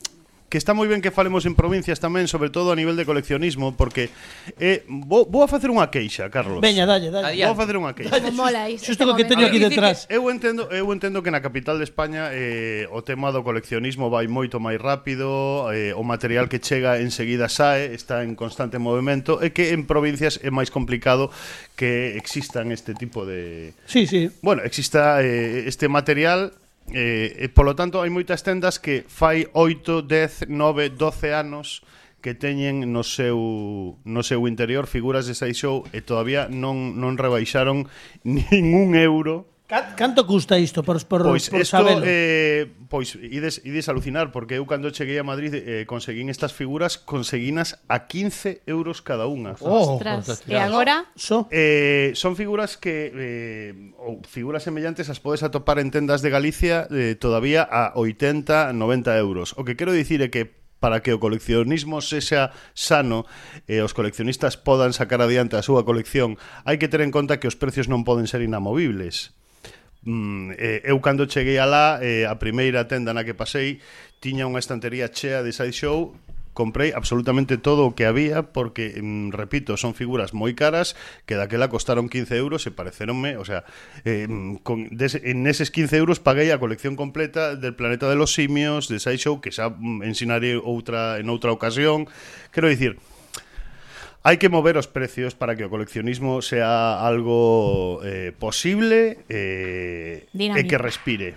S4: que está moi ben que falemos en provincias tamén, sobre todo a nivel de coleccionismo, porque eh, vou, vou a facer unha queixa, Carlos.
S2: Veña, dalle, dalle.
S3: Adiante.
S4: Vou a facer unha queixa.
S6: Como mola isto.
S2: Xusto co que teño
S3: momento.
S2: aquí
S3: Dicir
S2: detrás.
S3: que-
S4: Eu entendo, eu entendo que na capital de España eh, o tema do coleccionismo vai moito máis rápido, eh, o material que chega enseguida sae, está en constante movimento, e que en provincias é máis complicado que existan este tipo de...
S2: Sí, sí.
S4: Bueno, exista eh, este material, eh, e polo tanto hai moitas tendas que fai 8, 10, 9, 12 anos que teñen no seu no seu interior figuras de Sideshow e todavía non non rebaixaron ningún euro
S2: Ca- Canto custa isto por, por,
S4: Pois
S2: por
S4: Pues esto,
S2: sabelo?
S4: eh, pois ides, ides alucinar, porque eu cando cheguei a Madrid eh, conseguín estas figuras, conseguinas a 15 euros cada unha.
S7: Oh,
S6: Ostras,
S3: Ostras.
S6: e agora?
S2: So,
S4: Eh, son figuras que eh, ou figuras semellantes as podes atopar en tendas de Galicia eh, todavía a 80, 90 euros. O que quero dicir é que para que o coleccionismo sexa sano e os coleccionistas podan sacar adiante a súa colección, hai que ter en conta que os precios non poden ser inamovibles. Mm, eh, eu cando cheguei alá, eh, a primeira tenda na que pasei, tiña unha estantería chea de sideshow comprei absolutamente todo o que había porque, mm, repito, son figuras moi caras que daquela costaron 15 euros e pareceronme, o sea, eh, mm, con, des, en eses 15 euros paguei a colección completa del Planeta de los Simios, de Sideshow, que xa mm, ensinarei outra, en outra ocasión. Quero dicir, Hai que mover os precios para que o coleccionismo sea algo eh, posible eh, e
S6: Dinámico.
S4: que respire.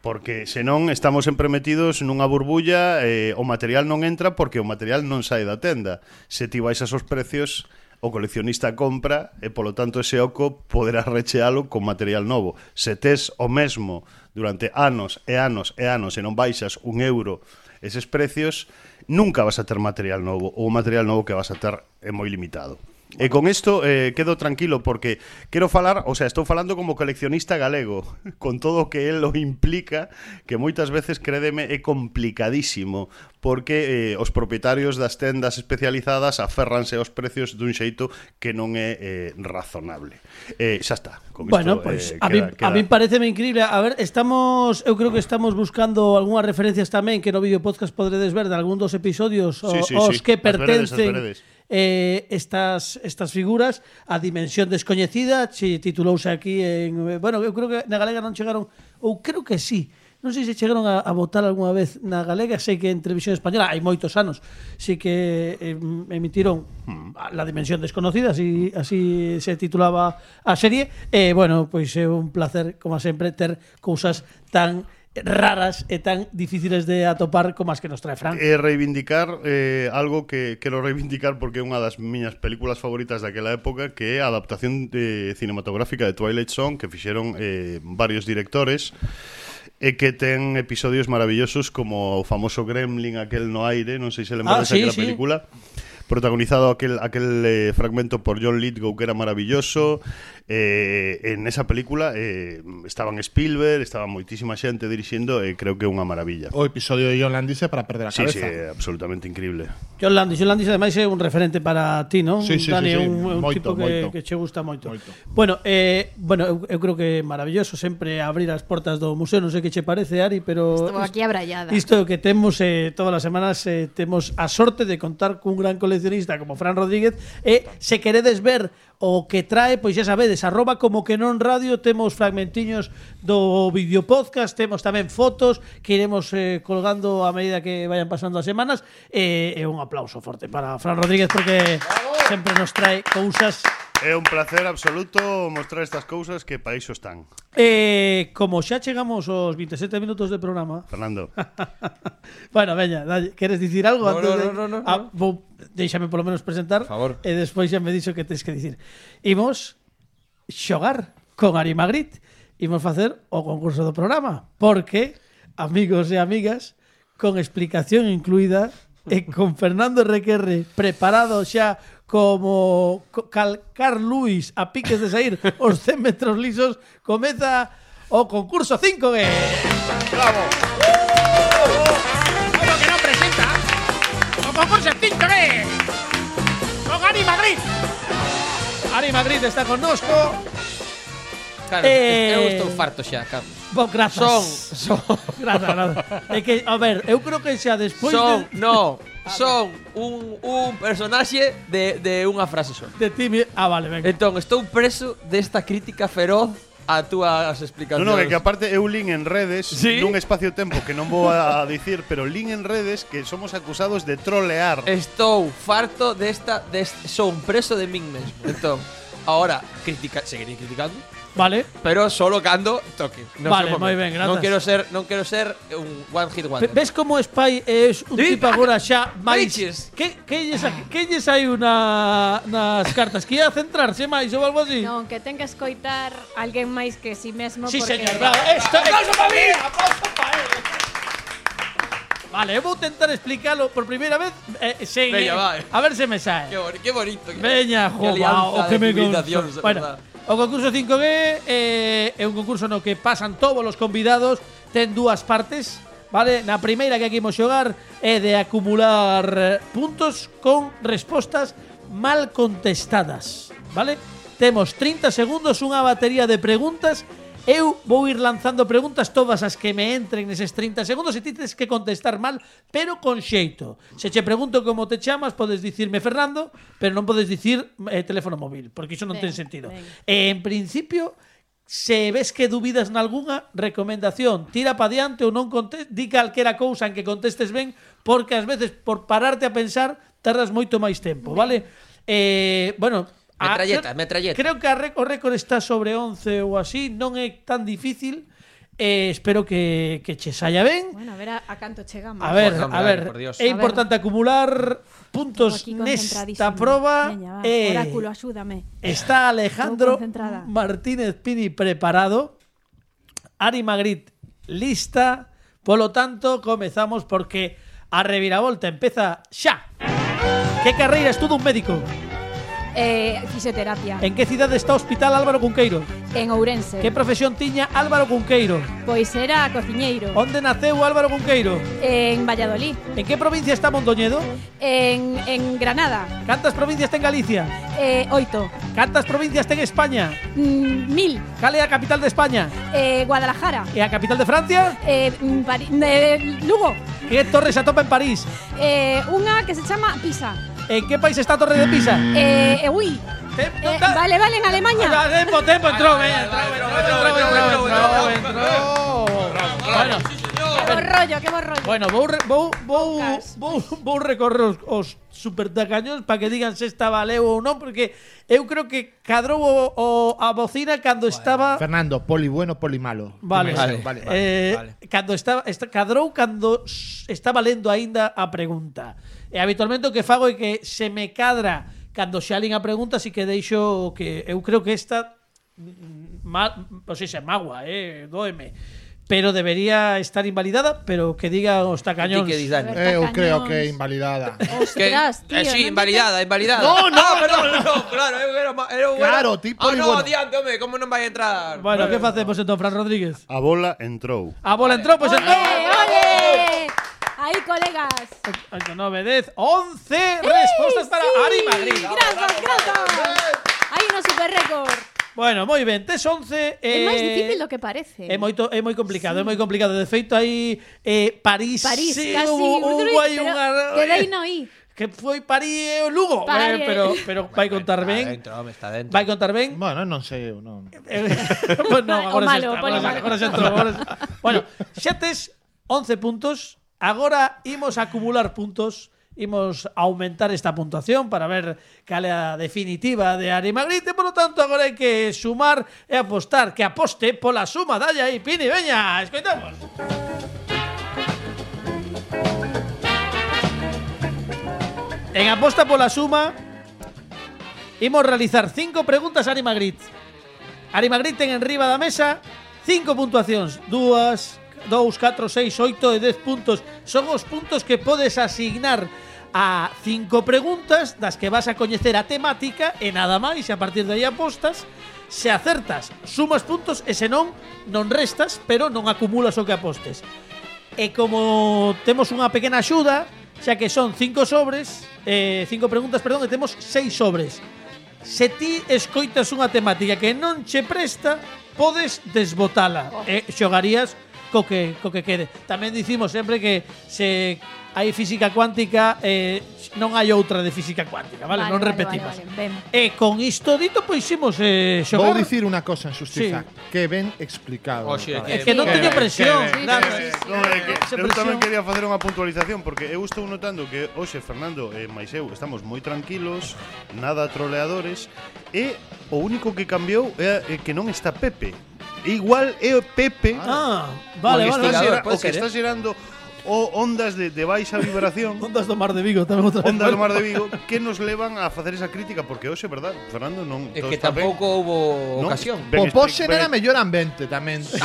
S4: Porque senón estamos sempre metidos nunha burbulla eh, O material non entra porque o material non sai da tenda Se ti vais a esos precios o coleccionista compra e polo tanto ese oco poderá rechealo con material novo. Se tes o mesmo durante anos e anos e anos e non baixas un euro eses precios, nunca vas a ter material novo ou o material novo que vas a ter é moi limitado. E con isto eh, quedo tranquilo porque quero falar, o sea, estou falando como coleccionista galego, con todo o que el o implica, que moitas veces crédeme é complicadísimo, porque eh, os propietarios das tendas especializadas aferranse aos precios dun xeito que non é eh, razonable. Eh, xa está, con
S2: Bueno,
S4: isto,
S2: pois
S4: eh,
S2: a, mí, a mí pareceme increíble. A ver, estamos, eu creo que estamos buscando algunhas referencias tamén que no video podcast podredes ver de algún dos episodios
S4: Sí, sí,
S2: o, os
S4: sí.
S2: que
S4: As veredes, as
S2: pertencen
S4: veredes.
S2: eh, estas estas figuras a dimensión descoñecida, si titulouse aquí en eh, bueno, eu creo que na galega non chegaron ou creo que sí. Non sei se chegaron a, a votar algunha vez na galega, sei que en televisión española hai moitos anos, sí que eh, emitiron a La dimensión desconocida, así así se titulaba a serie. E eh, bueno, pois é un placer como sempre ter cousas tan raras e tan difíciles de atopar como as que nos trae Fran.
S4: e reivindicar eh, algo que quero reivindicar porque é unha das miñas películas favoritas daquela época que é a adaptación eh, cinematográfica de Twilight Zone que fixeron eh, varios directores e que ten episodios maravillosos como o famoso Gremlin aquel no aire, non sei se
S2: Ah,
S4: lembrades
S2: sí,
S4: aquela
S2: sí.
S4: película protagonizado aquel, aquel eh, fragmento por John Lithgow que era maravilloso eh, en esa película eh, estaban Spielberg, estaba moitísima xente dirixindo e creo que é unha maravilla
S7: O episodio de John Landis é para perder a
S4: Sí, sí,
S7: cabeza.
S4: absolutamente increíble.
S2: John Landis, John Landis ademais é un referente para ti, non?
S7: Sí, sí,
S2: Dani,
S7: sí, sí.
S2: un, un
S7: Moito,
S2: tipo que,
S7: moito.
S2: que che gusta moito.
S7: Moito.
S2: Bueno, eh, bueno eu, eu creo que é maravilloso sempre abrir as portas do museo, non sei que che parece, Ari, pero
S6: Estou aquí abrallada.
S2: Isto é o que temos eh, todas as semanas eh, temos a sorte de contar cun gran coleccionista como Fran Rodríguez e se queredes ver o que trae, pois xa sabedes, arroba como que non radio, temos fragmentiños do videopodcast, temos tamén fotos que iremos eh, colgando a medida que vayan pasando as semanas e, e un aplauso forte para Fran Rodríguez porque sempre nos trae cousas
S4: É un placer absoluto mostrar estas cousas que para iso están.
S2: eh, como xa chegamos aos 27 minutos de programa
S4: Fernando,
S2: Bueno, veña, dalle. queres dicir algo
S3: No,
S2: antes
S3: no,
S2: de...
S3: no, no, no,
S2: Ah,
S3: no.
S2: vou- Déixame polo menos presentar
S3: Por favor.
S2: E despois xa me dixo que tens que dicir Imos xogar con Ari Magritte Imos facer o concurso do programa Porque, amigos e amigas Con explicación incluída E con Fernando Requerre Preparado xa como co- Calcar Luis A piques de sair os 100 metros lisos Comeza o concurso 5G
S9: Como que no presenta. O concurso extinto, ¿eh? Con Ari Madrid.
S2: Ari Magritte está con nosco
S3: Carlos,
S2: Eh.
S3: eu estou farto xa, Carlos.
S2: Bo, grazas.
S3: Son, son,
S2: Grazas, grazas. É que, a ver, eu creo que xa despois de,
S3: son,
S2: Ah,
S3: no, son un, un personaxe de, de unha frase só.
S2: de ti... mi- Ah, vale, venga.
S3: Entón, estou preso desta crítica feroz a túas
S4: non,
S3: explicacións.
S4: non, é que aparte eu lin en redes
S3: Sí?
S4: nun espacio-tempo que non vou a dicir, pero lin en redes que somos acusados de trolear.
S2: Eh.
S3: Estou farto desta, dest, son preso de min mesmo. Entón, ahora, critica, seguiré criticando,
S2: Vale.
S3: pero solo cando toque. No
S2: Vale,
S3: sei como.
S2: moi ben, grazas.
S3: Non quero ser, non quero ser un one hit
S2: Pe-
S3: wonder.
S2: Ves como Spy é un
S3: Sí,
S2: tipo agora xa máis...
S3: Biches.
S2: Que, que, lles, a- que lles hai una, nas cartas? Que ia centrarse máis ou algo así?
S6: Non, que ten que escoitar alguén máis que si sí mesmo
S2: Sí,
S6: porque...
S2: señor, bravo. Esto é... Aplauso para mí! Aplauso para él! Vale, eu vou tentar explicalo por primeira vez eh, sen, eh,
S3: Veña, vai.
S2: A ver se me sae.
S3: Qué, boni- qué bonito. que-
S2: Veña,
S3: qué
S2: jova,
S3: alianza
S2: o que
S3: de
S2: me
S3: civilizacións,
S2: consta.
S3: de
S2: Bueno,
S3: verdad.
S2: o concurso 5G eh, é un concurso no que pasan todos os convidados, ten dúas partes, vale? Na primeira que aquí imos xogar é de acumular eh, puntos con respostas mal contestadas, vale? Temos 30 segundos, unha batería de preguntas Eu vou ir lanzando preguntas todas as que me entren neses 30 segundos e ti tens que contestar mal, pero con xeito. Se che pregunto como te chamas, podes dicirme Fernando, pero non podes dicir eh, teléfono móvil, porque iso non
S6: Ben,
S2: ten sentido.
S6: ben.
S2: E en principio, se ves que dubidas nalgúna, recomendación, tira pa diante ou non contestes, di calquera cousa en que contestes ben, porque ás veces por pararte a pensar tardas moito máis tempo, vale? Eh, bueno, a-
S3: Metralleta,
S2: creo-
S3: metralleta.
S2: Creo que a rec- o récord está sobre 11 ou así, non é tan difícil. Eh, espero que, que che saia ben.
S6: Bueno, a ver a, a canto chegamos.
S2: A ver,
S3: Por favor,
S2: a ver,
S3: pues, por Dios.
S2: é
S6: A ver.
S2: importante acumular puntos
S6: Aquí
S2: nesta
S6: concentradísima.
S2: proba.
S6: Veña, va.
S2: Eh,
S6: Oráculo, ayúdame.
S2: Está Alejandro
S6: Estou concentrada.
S2: Martínez Pini preparado. Ari Magritte lista. Por lo tanto, comezamos porque a reviravolta empeza xa. Que carreira estudo un médico?
S6: Eh, fisioterapia.
S2: En
S6: En,
S2: que cidade está o Hospital Álvaro Cunqueiro?
S6: Ourense.
S2: Que profesión tiña Álvaro Cunqueiro?
S6: Pois era cociñeiro.
S2: Onde naceu Álvaro Cunqueiro?
S6: En Valladolid.
S2: En que provincia está Mondoñedo?
S6: En, en Granada.
S2: Cantas provincias ten Galicia?
S6: Eh, oito.
S2: Cantas provincias ten España?
S6: Mm, mil.
S2: Cal é a capital de España?
S6: Eh, Guadalajara.
S2: E a capital de Francia?
S6: Eh, mm, Pari- eh, Lugo.
S2: Que torre se atopa en París?
S6: Eh, unha que se chama Pisa.
S2: En que país está a Torre de Pisa?
S6: Eh, eh, ui.
S2: Tempo,
S6: Eh,
S2: ta-
S6: vale, vale, en Alemania.
S2: Ah, Tempo, tempo, entrou, eh, entrou, entrou, entrou, entrou, entrou, entrou. Bueno,
S6: Que bo rollo, que bo rollo.
S2: Bueno, vou, re- vou, vou,
S6: Lucas.
S2: vou, vou recorrer os, os supertacañóns para que digan se esta valeu ou non, porque eu creo que cadrou o, o, a bocina cando estaba...
S7: Fernando, poli bueno, poli malo.
S2: Vale,
S7: Vale,
S2: vale,
S7: vale,
S2: eh,
S3: vale.
S2: Cando estaba, esta, cadrou cando s- estaba lendo aínda a pregunta. E habitualmente o que fago é que se me cadra cando se alín a pregunta, así que deixo o que eu creo que esta mm, ma, o sea, se magua, eh, doeme. Pero debería estar invalidada, pero que diga os tacañóns.
S3: Ti que dis, Dani.
S6: Eh,
S7: Eu
S6: Cañóns.
S7: creo que invalidada.
S6: Ostras, tío.
S3: eh, sí,
S6: non
S3: invalidada, invalidada.
S7: No, no,
S3: Ah, perdón, no, claro, eu era, ma- era
S7: Claro, tipo,
S3: Ah,
S7: y
S3: no,
S7: bueno.
S3: adiante, home, como non vai entrar?
S2: Bueno, que facemos entón, Fran Rodríguez?
S4: A bola entrou.
S2: A bola entrou, pues pois
S6: te-
S2: entón.
S6: Ah, ¡Ole, ole! Ahí, colegas.
S2: 9, 10, 11 respostas Eh, para
S6: Sí,
S2: Ari Madrid.
S6: Grazas, grazas. Hai un super récord.
S2: Bueno, moi ben, tes 11.
S6: É
S2: eh,
S6: máis difícil do que parece.
S2: É moito é moi complicado, é moi complicado. De feito, hai eh, París,
S6: París,
S2: sí,
S6: casi.
S2: hubo, hubo hai
S6: pero
S2: unha
S6: Quedei no i.
S2: que foi París e o Lugo, eh,
S6: París.
S2: pero pero vai contar
S3: Está
S2: ben,
S3: dentro, home, está dentro.
S2: vai contar ben.
S7: Bueno, non sei, eu non.
S2: Eh, pues no,
S6: Mal- o
S2: agora xa
S6: malo,
S2: está,
S6: polo
S2: agora xa-
S6: malo.
S2: agora xa entrou, agora xa- Bueno, xa tes 11 puntos. Agora imos a acumular puntos. Imos a aumentar esta puntuación para ver cal é a definitiva de Ari Magritte. Por lo tanto, agora hai que sumar e apostar. Que aposte pola suma, dalla aí, Pini, veña, escoitamos. En aposta pola suma, imos realizar cinco preguntas a Ari Magritte. Ari Magritte ten en riba da mesa cinco puntuacións. Dúas, dous, catro, seis, oito e dez puntos. Son os puntos que podes asignar a cinco preguntas das que vas a coñecer a temática e nada máis, e a partir de aí apostas. Se acertas, sumas puntos e se non, non restas, pero non acumulas o que apostes. E como temos unha pequena axuda, xa que son cinco sobres, eh, cinco preguntas, perdón, e temos seis sobres. Se ti escoitas unha temática que non che presta, podes desbotala. E xogarías co que, co que quede. Tamén dicimos sempre que se hai física cuántica, eh, non hai outra de física cuántica, vale? non repetimos.
S6: Vale, vale, Ben.
S2: E con isto dito, pois imos eh,
S7: Vou
S2: xogar.
S7: dicir unha cosa en xustiza,
S2: Sí.
S7: que ben explicado.
S4: Oh,
S3: Oxe,
S7: Vale.
S2: É
S3: que-
S2: que non
S6: Que
S2: teño
S6: ben,
S2: presión.
S6: que ben,
S2: nada.
S6: que ben.
S4: No, é que
S2: eh, Esa
S4: eu
S2: presión.
S4: tamén quería facer unha puntualización porque eu estou notando que hoxe Fernando e máis eu estamos moi tranquilos, nada troleadores e o único que cambiou é é que non está Pepe. E Igual é o Pepe
S2: Ah, vale, vale. vale.
S4: o que está,
S2: ¿eh?
S4: xera-
S3: pode
S4: o que
S3: ser,
S4: está xerando o oh, ondas de, de baixa vibración.
S2: Ondas do Mar de Vigo tamén outra vez.
S4: Ondas do Mar de Vigo que nos levan a facer esa crítica porque hoxe, verdad, Fernando non
S3: É que
S4: todo está ben.
S3: tampouco houbo
S4: Non,
S3: ocasión.
S4: ben
S7: O
S4: estri-
S7: Porsche era
S4: ben- Ah.
S7: mellor ambiente tamén.
S4: Sí.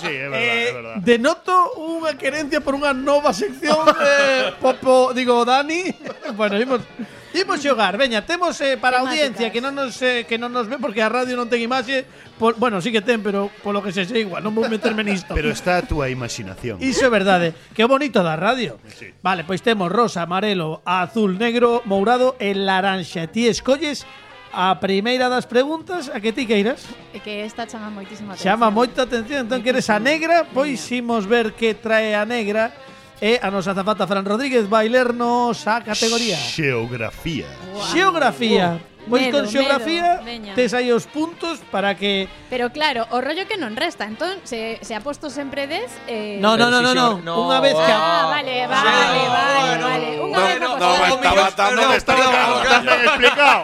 S4: sí, é verdad, é
S2: Eh,
S4: verdad.
S2: denoto unha querencia por unha nova sección eh, Popo, digo, Dani Bueno, imos Imos xogar, veña, temos eh, para a audiencia
S6: Temáticas.
S2: que non nos eh, que non nos ve porque a radio non ten imaxe, por, bueno, sí que ten, pero polo que se sei igual, non vou meterme nisto.
S4: Pero está a túa imaginación.
S2: Iso é verdade. Que bonito da radio.
S4: Sí.
S2: Vale, pois temos rosa, amarelo, azul, negro, mourado e laranxa. Ti escolles a primeira das preguntas a que ti queiras.
S6: É que esta chama moitísima atención.
S2: Chama moita atención, entón que eres a negra, pois imos ver que trae a negra e a nosa azafata Fran Rodríguez vai lernos a categoría.
S4: Geografía.
S6: Guau.
S2: Xeografía.
S6: Buah.
S2: Pois
S6: Medo,
S2: con xeografía
S6: medo. Veña.
S2: tes aí os puntos para que
S6: Pero claro, o rollo que non resta. Entón, se, se ha posto sempre 10... Eh,
S2: No, no, no, no, no. Unha vez que
S6: Ah, vale, vale, vale, vale. Unha
S5: No,
S6: vez
S5: no, no,
S6: a posada.
S5: me está matando, me está matando.
S4: También explicado.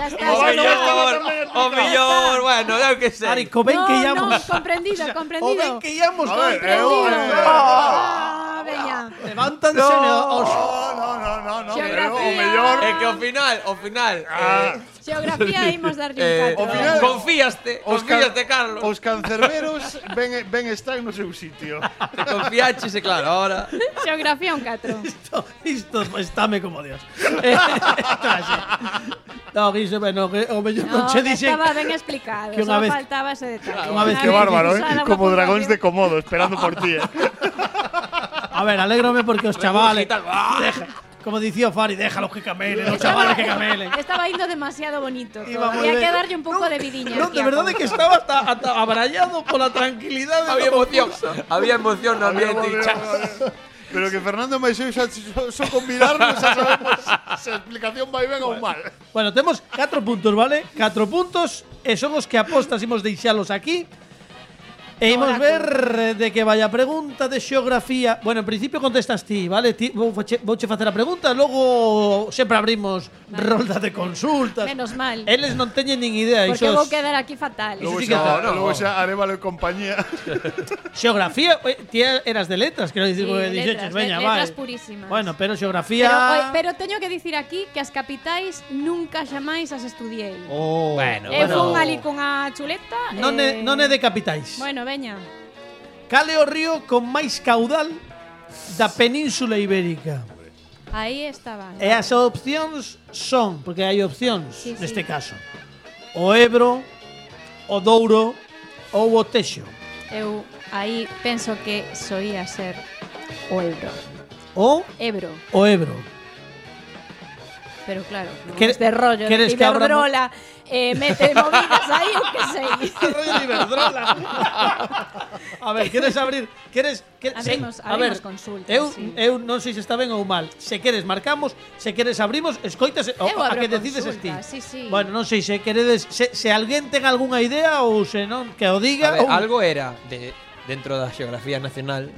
S6: Xa está,
S3: O
S6: xa
S4: Vaya, vaya,
S6: está.
S3: millor, o millor, bueno, eu que sei.
S2: Ari, co ben
S6: no,
S2: que íamos.
S6: No, comprendido, comprendido.
S2: o ben que íamos.
S4: A ver, eh,
S6: Comprendido.
S4: oh, eh,
S6: Ah, veña.
S2: Levántanse Oh, no. os
S4: No, no, no, no, no.
S6: Geografía.
S4: pero O mellor.
S3: É que ao final, ao final,
S4: Ah,
S6: Xeografía imos darlle
S3: eh,
S6: un
S3: eh,
S6: catro.
S4: ao final-
S3: confíaste,
S4: os can-
S3: confíaste, Carlos.
S4: Os cancerberos ben, ben están no seu sitio.
S3: Te confiaches e claro, ahora.
S6: Xeografía un 4.
S2: Isto, isto estáme pues como Dios. Eh, traxe. no, Guiso, bueno, que o mellor non che dixen.
S6: estaba ben explicado,
S2: que unha
S6: só
S2: vez-
S6: faltaba ese detalle.
S2: Unha vez
S4: Qué bárbaro, ¿eh?
S6: usada unha
S4: Como dragóns
S6: puntuación.
S4: de Comodo, esperando por ti. eh.
S2: A ver, alégrome porque os chavales.
S3: Regurgitan, ¡ah!
S2: Deja, como dicía Fari, déjalos que camelen, os chavales que camelen.
S6: Estaba indo demasiado bonito.
S2: Iba moi
S6: Había
S2: ben.
S6: que darlle un pouco de vidiña.
S2: No, de verdade que estaba hasta, hasta abrallado pola tranquilidade.
S3: Había
S2: do
S3: emoción,
S2: concurso.
S3: había emoción no
S4: Había
S3: ambiente.
S4: movido,
S3: Chas.
S4: había- Pero que Fernando Maiseu xa só combinarnos a sabemos se a explicación vai ben ou mal.
S2: Bueno, temos 4 puntos, vale? 4 puntos e son os que apostas imos deixalos aquí. E imos
S6: Oráculo.
S2: ver eh, de que vai a pregunta de xeografía. Bueno, en principio contestas ti, vale? Ti vou fache, vouche facer a pregunta, logo sempre abrimos rolda de consultas.
S6: Menos mal.
S2: Eles non teñen nin idea,
S6: Porque
S2: isos.
S6: vou quedar aquí fatal.
S2: Eso
S4: Logo
S2: sí que
S4: xa,
S2: está,
S3: no.
S4: logo xa Arevalo e compañía.
S2: Xeografía, oi, ti eras de letras, quero dicir,
S6: Sí,
S2: porque dixeches,
S6: letras,
S2: veña,
S6: letras
S2: vai.
S6: purísimas.
S2: Bueno, pero xeografía
S6: Pero, oi, pero teño que dicir aquí que as capitais nunca xamais as estudiei.
S2: Oh,
S3: Bueno,
S6: Eu
S3: bueno.
S6: fun ali con a chuleta.
S2: non é,
S6: eh,
S2: non é de capitais.
S6: Bueno, veña.
S2: Cal é o río con máis caudal da península ibérica?
S6: Aí estaba.
S2: E as opcións son, porque hai opcións
S6: Sí, sí.
S2: neste caso. O Ebro, o Douro ou o Texo.
S6: Eu aí penso que soía ser o Ebro.
S2: O
S6: Ebro,
S2: o Ebro.
S6: pero claro, non
S2: Quere-
S6: este rollo de
S2: queres que abra mo-
S6: Iberdrola eh, mete movidas aí, eu que sei.
S2: A ver, queres abrir, queres que
S6: Abrimos-
S2: a ver,
S6: abrimos consultas,
S2: Eu
S6: sí.
S2: eu non sei se está ben ou mal. Se queres marcamos, se queres abrimos, escoitas o,
S6: Eu
S2: a
S6: abro
S2: que decides ti.
S6: consulta, sí, sí.
S2: Bueno, non sei se queredes se, se alguén ten algunha idea ou se non que o
S3: A
S2: diga
S3: ver,
S2: ou-
S3: algo era de dentro da xeografía nacional,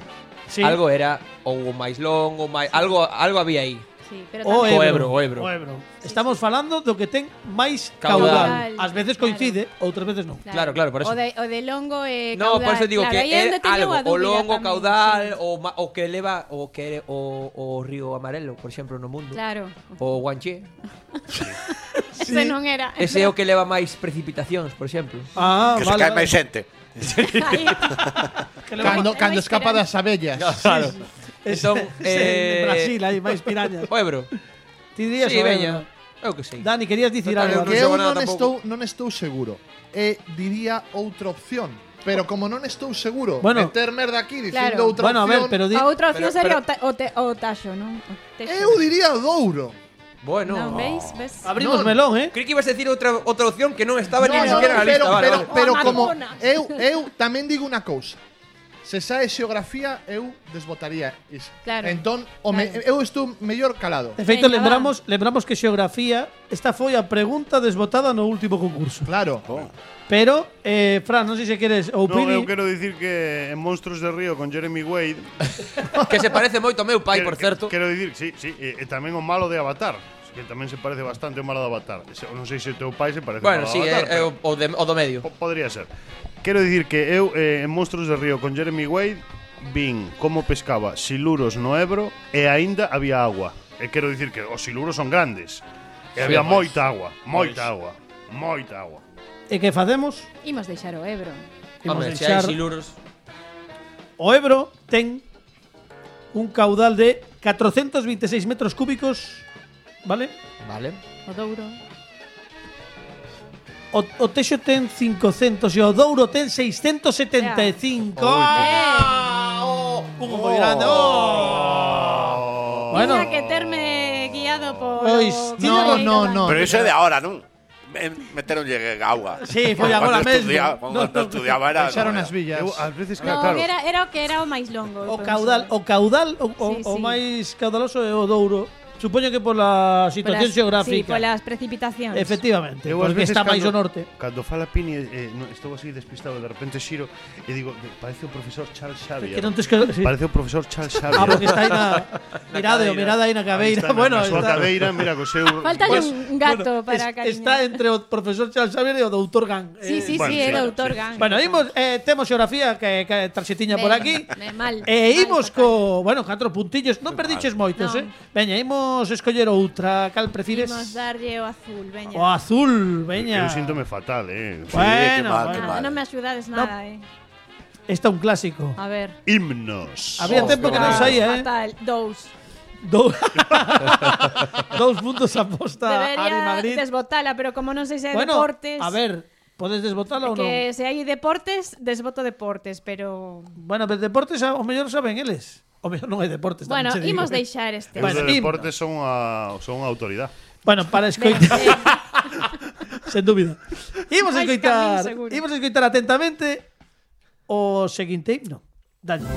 S2: Sí.
S3: algo era ou o máis longo, máis algo algo había aí.
S6: Sí, pero
S2: O
S6: tamén
S2: Oh,
S3: O
S2: Ebro,
S3: Ebro, o Ebro.
S2: Estamos falando do que ten máis caudal.
S3: Caudal.
S2: Ás veces
S6: Claro.
S2: coincide, outras veces non.
S3: Claro, claro, por eso.
S6: O de, o de longo eh,
S3: No,
S6: caudal.
S3: por eso digo
S6: claro,
S3: que
S6: aí é
S3: era
S6: onde teño
S3: algo
S6: a
S3: o
S6: dúbida
S3: longo
S6: tamén,
S3: caudal
S6: sí.
S3: o, ma- o que eleva o que o, o río amarelo, por exemplo, no mundo.
S6: Claro.
S3: O Guanche.
S6: Ese non era.
S3: Ese é o que leva máis precipitacións, por exemplo.
S2: Ah,
S5: Que se
S2: vale.
S5: cae
S2: vale.
S5: máis xente.
S6: Aí.
S2: Que le
S7: Cando,
S6: Vai-
S7: cando
S6: vai
S7: escapa
S6: esperar.
S7: das abellas.
S3: Claro.
S2: Es-
S3: Entón,
S2: es
S3: eh,
S2: en Brasil hai máis pirañas.
S3: O Ebro.
S2: Ti dirías o
S3: Sí,
S2: Ebro.
S3: veña. Eu que sei.
S2: Dani, querías dicir
S3: Total,
S2: algo. ¿no?
S3: eu
S7: Que eu
S3: chegou nada
S7: non estou,
S3: tampouco.
S7: non estou seguro. E diría outra opción. Pero como non estou seguro,
S2: Bueno.
S7: meter merda aquí dicindo
S6: Claro.
S7: outra
S2: Bueno, a ver,
S7: opción,
S2: pero di
S6: A outra opción
S3: Pero- pero-
S6: sería o, ta- o, te, o taxo, non? O texo.
S7: eu diría Douro.
S3: Bueno.
S6: Non, veis? Ves?
S2: Abrimos
S7: No.
S2: melón, eh?
S3: Creí que ibas a decir outra outra opción que non estaba
S7: No,
S3: ni
S7: no,
S3: siquiera na lista,
S7: pero,
S3: vale,
S7: pero,
S3: vale.
S7: pero
S6: Oh,
S7: como
S6: Madonna.
S7: eu, eu tamén digo unha cousa. Se sae xeografía, eu desbotaría iso.
S6: Claro,
S7: Entón, o me,
S6: claro.
S7: eu estou mellor calado.
S2: De feito,
S6: Veña,
S2: lembramos, lembramos que xeografía esta foi a pregunta desbotada no último concurso.
S7: Claro.
S2: Pero, eh, Fran, non sei se queres ou
S4: No,
S2: Pini.
S4: eu quero dicir que en Monstruos de Río con Jeremy Wade
S3: que se parece moito ao meu pai,
S4: quero-
S3: por certo.
S4: Quero dicir, sí, sí, e, e tamén o malo de Avatar, que tamén se parece bastante ao malo de Avatar. Se- Non sei se o teu pai se parece
S3: Bueno,
S4: ao malo
S3: sí, eh,
S4: de Avatar.
S3: é, é o, o, de, o do medio.
S4: Po- Podría ser. Quero dicir que eu eh, en Monstruos de Río con Jeremy Wade vin como pescaba siluros no Ebro e aínda había agua. E quero dicir que os siluros son grandes. E
S3: Sí,
S4: había
S3: pois.
S4: moita agua, moita agua, moita agua.
S2: E que facemos?
S6: Imos deixar o Ebro.
S2: Imos
S3: Home, se hai
S2: deixar-
S3: siluros.
S2: O Ebro ten un caudal de 426 metros cúbicos, ¿vale?
S3: Vale.
S6: O Douro.
S2: O, o Texo ten 500 e o Douro ten e 675. ¡Ah! ¡Oh! Hugo moi grande. ¡Oh!
S6: Bueno.
S2: Bueno,
S6: Tiña que terme guiado por...
S2: Pois,
S6: o-
S2: tiña-
S6: por aí
S7: no,
S6: da
S7: no,
S6: banda.
S5: Pero iso é de ahora, non? en- meteron llegue agua.
S2: Sí, foi
S5: Cuando
S2: agora mesmo.
S5: estudia-
S2: No,
S5: Cuando
S2: no,
S5: estudiaba era...
S7: Baixaron
S5: no,
S7: as
S5: era.
S7: villas.
S4: Eu,
S10: ah,
S4: ás veces,
S6: No,
S4: claro,
S6: era, era o que era o máis longo.
S2: O
S6: eu
S2: caudal,
S6: penso.
S2: o caudal o, o,
S6: Sí,
S2: o
S6: sí.
S2: máis caudaloso é o Douro. Supoño que pola situación
S6: Polas- Sí,
S2: xeográfica.
S6: polas precipitacións.
S2: Efectivamente,
S4: Eu ás
S2: porque
S4: veces
S2: está máis ao
S4: cando-
S2: norte.
S4: Cando fala Pini, eh, no, estou así despistado, de repente xiro e digo, "De- parece o profesor Charles Xavier.
S2: Que non tes que sí.
S4: Parece o profesor Charles Xavier.
S2: Ah, porque está aí na Mirade, o mirade aí na
S4: Aí
S2: cabeira.
S4: está,
S2: bueno,
S4: na súa
S2: está.
S4: cadeira, mira, co seu...
S6: Falta
S2: Pues,
S6: un gato
S2: bueno,
S6: para
S2: es-
S6: cariñar.
S2: Está entre o profesor Charles Xavier e o doutor Gan.
S6: Sí, sí,
S4: Bueno, sí,
S6: sí, era
S4: claro,
S6: autor
S4: sí.
S6: Gang.
S2: Bueno, imos, eh, temos xeografía que, que tarxetiña por
S6: Ben,
S2: aquí.
S6: ben, mal,
S2: e
S6: mal,
S2: imos co,
S6: fatal.
S2: bueno, catro puntillos, non perdiches moitos,
S6: Non.
S2: eh? Veña, imos escoller outra, cal prefires?
S6: Imos darlle o azul, veña.
S2: O azul, veña.
S4: Eu síntome fatal, eh.
S5: qué
S2: Bueno,
S5: mal,
S2: bueno.
S5: qué
S6: Nada,
S5: mal.
S6: non me axudades nada, eh.
S2: Esta un clásico.
S6: A ver.
S4: Himnos.
S2: Había
S5: Oh,
S2: tempo que
S5: qué
S2: non
S5: bonito.
S2: saía, eh?
S6: Fatal, dous.
S2: Dou- Dous puntos aposta a Ari
S6: Debería
S2: Madrid.
S6: desbotala, pero como non sei se é
S2: Bueno,
S6: deportes...
S2: a ver, podes desbotala ou non?
S6: Que se hai deportes, desboto deportes, pero...
S2: Bueno, pero deportes ao mellor saben eles. O mellor non hai deportes.
S6: Bueno,
S2: tamén che digo.
S6: imos deixar este.
S4: Eu
S2: Bueno,
S4: bueno,
S2: himno.
S4: de deportes son a, son a autoridade.
S2: Bueno, para escoitar, sen dúbida. Imos
S6: Máis
S2: escoitar,
S6: camiño seguro.
S2: imos escoitar atentamente o seguinte himno. Dalle.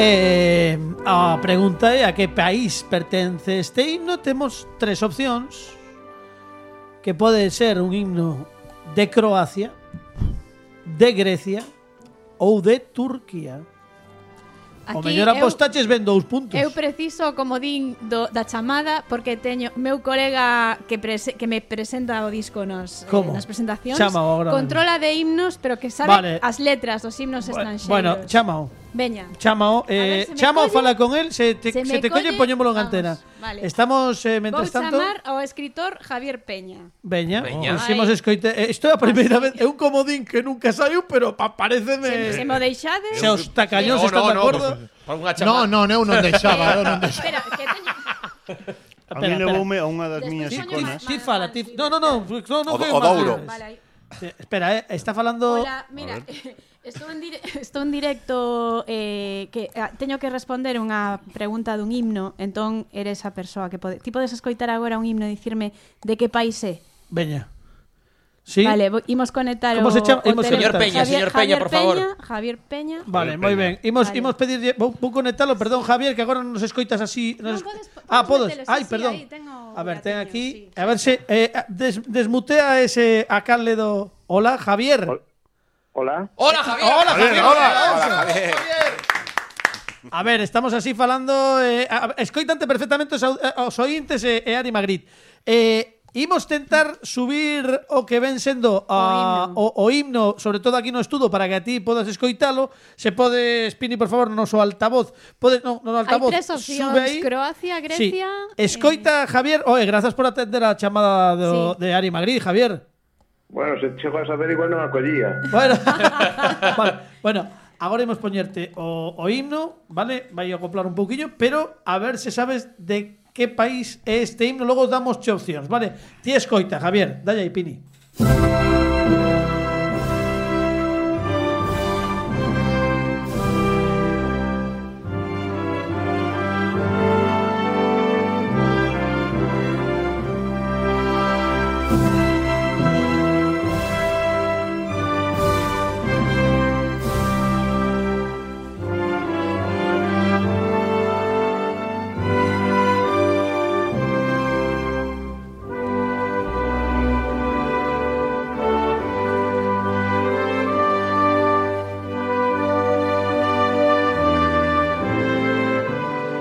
S2: Eh, a pregunta é a que país pertence este himno. Temos tres opcións que pode ser un himno de Croacia, de Grecia ou de Turquía. o mellor apostaches ben dous puntos.
S6: Eu preciso o comodín do, da chamada porque teño meu colega que, prese, que me presenta o disco nos, eh,
S2: Como?
S6: nas presentacións.
S2: Chama agora mesmo.
S6: Controla de himnos, pero que
S2: Vale.
S6: sabe as letras dos himnos
S2: Bu-
S6: estranxeiros.
S2: bueno, chamao.
S6: Veña.
S2: Chamao, eh,
S6: ver, se me
S2: chamao
S6: colle.
S2: fala con él, se te,
S6: Se
S2: se
S6: me
S2: te colle,
S6: colle,
S2: poñémolo en
S6: vamos,
S2: antena.
S6: vale.
S2: Estamos, eh,
S6: Vou
S2: mientras tanto...
S6: chamar ao escritor Javier Peña.
S2: Veña,
S3: Veña.
S2: hicimos
S6: Ai.
S2: escoite. eh, Isto é a primeira
S6: Así.
S2: vez, é un comodín que nunca saiu, pero pa,
S6: Se, me- se
S2: pareceme...
S6: me o deixades...
S2: Eh,
S6: eh,
S2: Se os tacañóns
S3: No,
S2: están
S3: no,
S2: de
S3: no,
S2: acordo...
S3: por- por unha chamada.
S7: No, non, eu non deixaba, eu non deixaba.
S6: Espera, que teño...
S4: A mí levoume a unha das miñas
S2: Ti, ti,
S6: Despois
S4: iconas.
S6: poño-
S2: ti fala, ti... No, no, no, no, no
S5: O do-
S2: que
S5: o Douro.
S2: mandes.
S6: Vale, aí.
S2: Eh, Espera, eh, está falando...
S6: Hola, mira, estou en, dire estou en directo eh, que ah, teño que responder unha pregunta dun himno, entón eres a persoa que pode... Ti podes escoitar agora un himno e dicirme de que país é.
S2: Veña. Sí?
S6: Vale, vo- imos conectar
S2: Como
S6: o,
S2: se chama?
S6: o
S2: Imos Señor
S6: teléfono.
S2: Peña,
S3: señor Peña,
S6: Javier
S3: por favor.
S6: Peña, Javier Peña.
S2: Vale,
S4: Javier
S2: moi
S4: Peña.
S2: ben. Imos,
S6: Vale.
S2: imos pedirlle, vou, vou conectalo, perdón, Javier, que agora non nos escoitas así,
S6: Non,
S2: nos...
S6: podes- podes
S2: ah, podes.
S6: metelos
S2: Ai,
S6: así,
S2: perdón.
S6: aí tengo
S2: a ver, ten
S6: o
S2: aquí,
S6: gatillo, sí.
S2: a ver se eh, des, desmutea ese a Carle do Hola, Javier.
S11: Hola.
S3: Hola, Javier.
S2: Hola, Javier. Hola.
S5: Hola, Javier.
S2: A ver, estamos así falando eh, a- a- Escoitante perfectamente os, au- eh, os ointes e, e Ari Magritte eh, Imos tentar subir o que ven sendo a,
S6: O himno.
S2: o, o himno Sobre todo aquí no estudo Para que a ti podas escoitalo Se pode, Spini, por favor, no so altavoz Podes, no, no
S6: Hai
S2: altavoz
S6: tres
S2: Sube aí
S6: opcións, Croacia,
S2: Sí.
S6: Grecia... eh.
S2: Escoita, Javier Oe, grazas por atender a chamada do,
S6: Sí.
S2: de Ari Magritte, Javier
S11: Bueno, se chegou a saber igual non acollía.
S2: Bueno, vale, bueno, agora imos poñerte o, o himno, vale? Vai acoplar un pouquiño, pero a ver se sabes de que país é este himno, logo damos che opcións, vale? Ti escoita, Javier, dalle aí, Pini.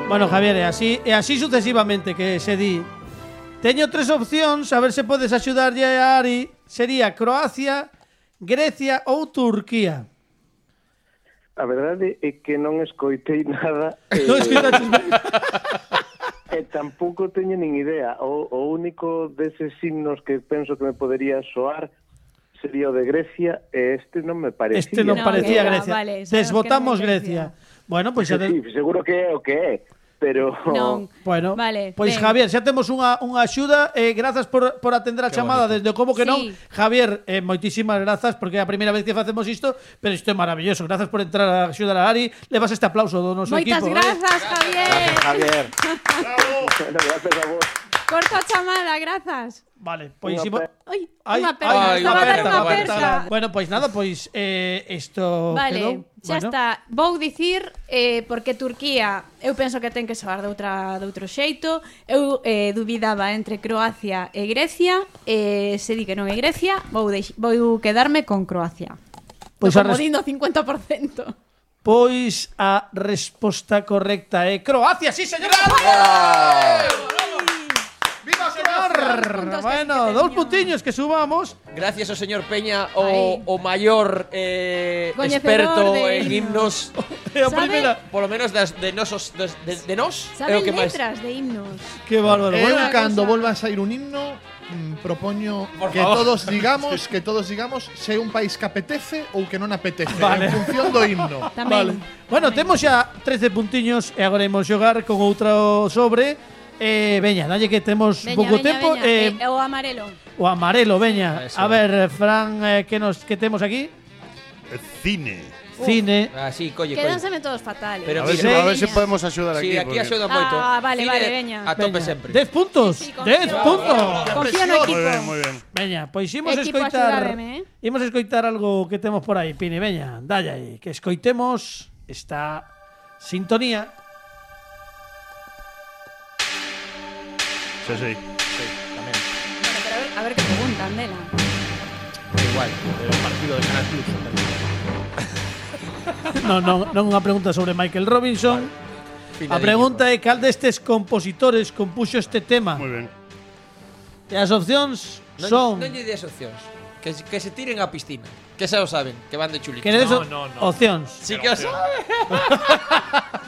S2: Bueno, Javier, e así, e así sucesivamente que se di. Teño tres opcións, a ver se podes axudarlle a Ari. Sería Croacia, Grecia ou Turquía.
S11: A verdade é que non escoitei nada e,
S2: Non escoitaches
S11: e tampouco teño nin idea. O, o único deses himnos que penso que me podería soar sería o de Grecia e este non me parecía.
S2: Este non
S6: No,
S2: parecía
S6: que era,
S2: Grecia.
S6: vale, sabemos
S2: Desvotamos
S6: que era Grecia.
S2: Grecia. Bueno, pues pois xa te-
S11: Sí, seguro que é o que é, pero...
S6: Non.
S2: Bueno,
S6: Vale,
S2: pois
S6: ben.
S2: Javier, xa temos unha, unha axuda eh, Grazas por, por atender a chamada Desde o como que
S6: Sí.
S2: non Javier, eh, moitísimas grazas Porque é a primeira vez que facemos isto Pero isto é maravilloso Grazas por entrar a axudar a Ari Levas este aplauso do noso
S6: Moitas
S2: equipo
S6: grazas, Javier.
S5: Javier.
S11: Bueno, gracias a vos.
S6: Corto a chamada, grazas.
S2: eh? Vale, pois
S11: Unha
S2: imos...
S11: pe-
S6: Oi,
S2: Ai,
S6: unha
S2: ai,
S6: perna,
S3: ai,
S6: estaba a dar
S3: aperta,
S6: unha
S3: aperta.
S6: perna.
S2: Bueno, pois nada, pois eh, isto
S6: Vale,
S2: quedou.
S6: xa
S2: Bueno.
S6: está. Vou dicir eh, porque Turquía, eu penso que ten que soar de outra de outro xeito. Eu eh, dubidaba entre Croacia e Grecia, eh, se di que non é Grecia, vou deix, vou quedarme con Croacia.
S2: Pois
S6: Pois
S2: a
S6: como
S2: res-
S6: dindo 50%.
S2: Pois a resposta correcta é Croacia, sí, señor. ¡Viva señor!
S6: puntos este
S2: Bueno,
S6: que
S2: dos
S6: teño.
S2: puntiños que subamos.
S3: Gracias ao señor Peña,
S6: Ai.
S3: o, o maior eh, experto
S6: Coñecedor de
S3: en himnos,
S2: É a
S6: Sabe-
S2: primeira.
S3: polo menos das, de nosos, das, de, de nos, é
S6: Saben
S3: o que máis.
S6: letras de himnos.
S2: Qué bárbaro.
S7: Eu,
S2: Bueno,
S7: cando
S6: cosa.
S7: volvas a ir un himno, mm, propoño
S3: Por
S7: que
S3: favor.
S7: todos digamos, que todos digamos se é un país que apetece ou que non apetece, en
S2: Vale.
S7: función do himno.
S6: Tamén.
S2: bueno, temos xa 13 puntiños e agora imos xogar con outro sobre. Eh, veña, dalle que temos
S6: Veña,
S2: pouco
S6: veña,
S2: tempo.
S6: veña.
S2: Eh,
S6: Eh, o amarelo.
S2: o amarelo, veña.
S3: Eso.
S2: A ver, Fran, eh, que nos que temos aquí?
S4: Cine.
S2: Cine.
S3: Ah, sí, colle, colle.
S6: Quedánseme todos fatales.
S3: Pero
S4: A ver,
S3: Sí.
S4: si, a ver si podemos ayudar
S3: Sí,
S4: aquí.
S3: aquí
S4: porque-
S3: axuda
S6: Ah,
S3: moito.
S6: vale,
S3: Cine
S6: vale, veña.
S3: A tope sempre.
S2: 10 puntos.
S6: Sí, sí,
S2: 10
S6: confío.
S2: puntos.
S6: Confío no equipo.
S4: Muy bien, muy bien.
S2: Veña, pois imos
S6: Equipo,
S2: escoitar
S6: axudádeme, eh.
S2: Imos escoitar algo que temos por aí, Pini, veña, dalle aí Que escoitemos esta sintonía
S4: Sí, sí.
S6: Bueno, pero a ver, a ver que preguntan, Dela.
S2: Non, non, non unha pregunta sobre Michael Robinson A pregunta é cal destes compositores compuxo este tema
S4: Muy bien.
S2: E as opcións
S3: Non-
S2: son
S3: Non lle des opcións. Que, se- que se tiren á piscina. Que xa o saben, que van de chulitos.
S2: Queredes
S3: No,
S2: o- opcións?
S3: Sí que o saben.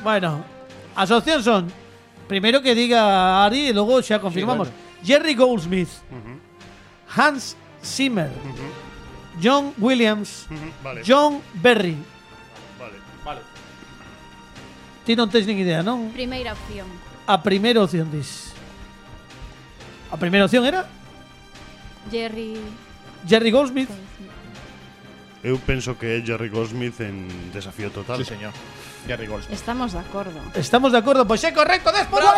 S2: Bueno, as opcións son Primeiro que diga Ari e logo xa confirmamos Jerry Goldsmith Hans Zimmer John Williams
S4: Ujú, Vale.
S2: John Berry
S4: Vale.
S2: Ti non tens nin idea, non?
S6: Primeira opción.
S2: A primeira opción dis. A primeira opción era
S6: Jerry.
S2: Jerry Goldsmith.
S4: Eu penso que é Jerry Goldsmith en Desafío Total.
S7: Sí, señor. Gary Goldsmith.
S6: Estamos de acordo.
S4: Eh,
S2: Estamos de acordo, pois é correcto, 10 puntos.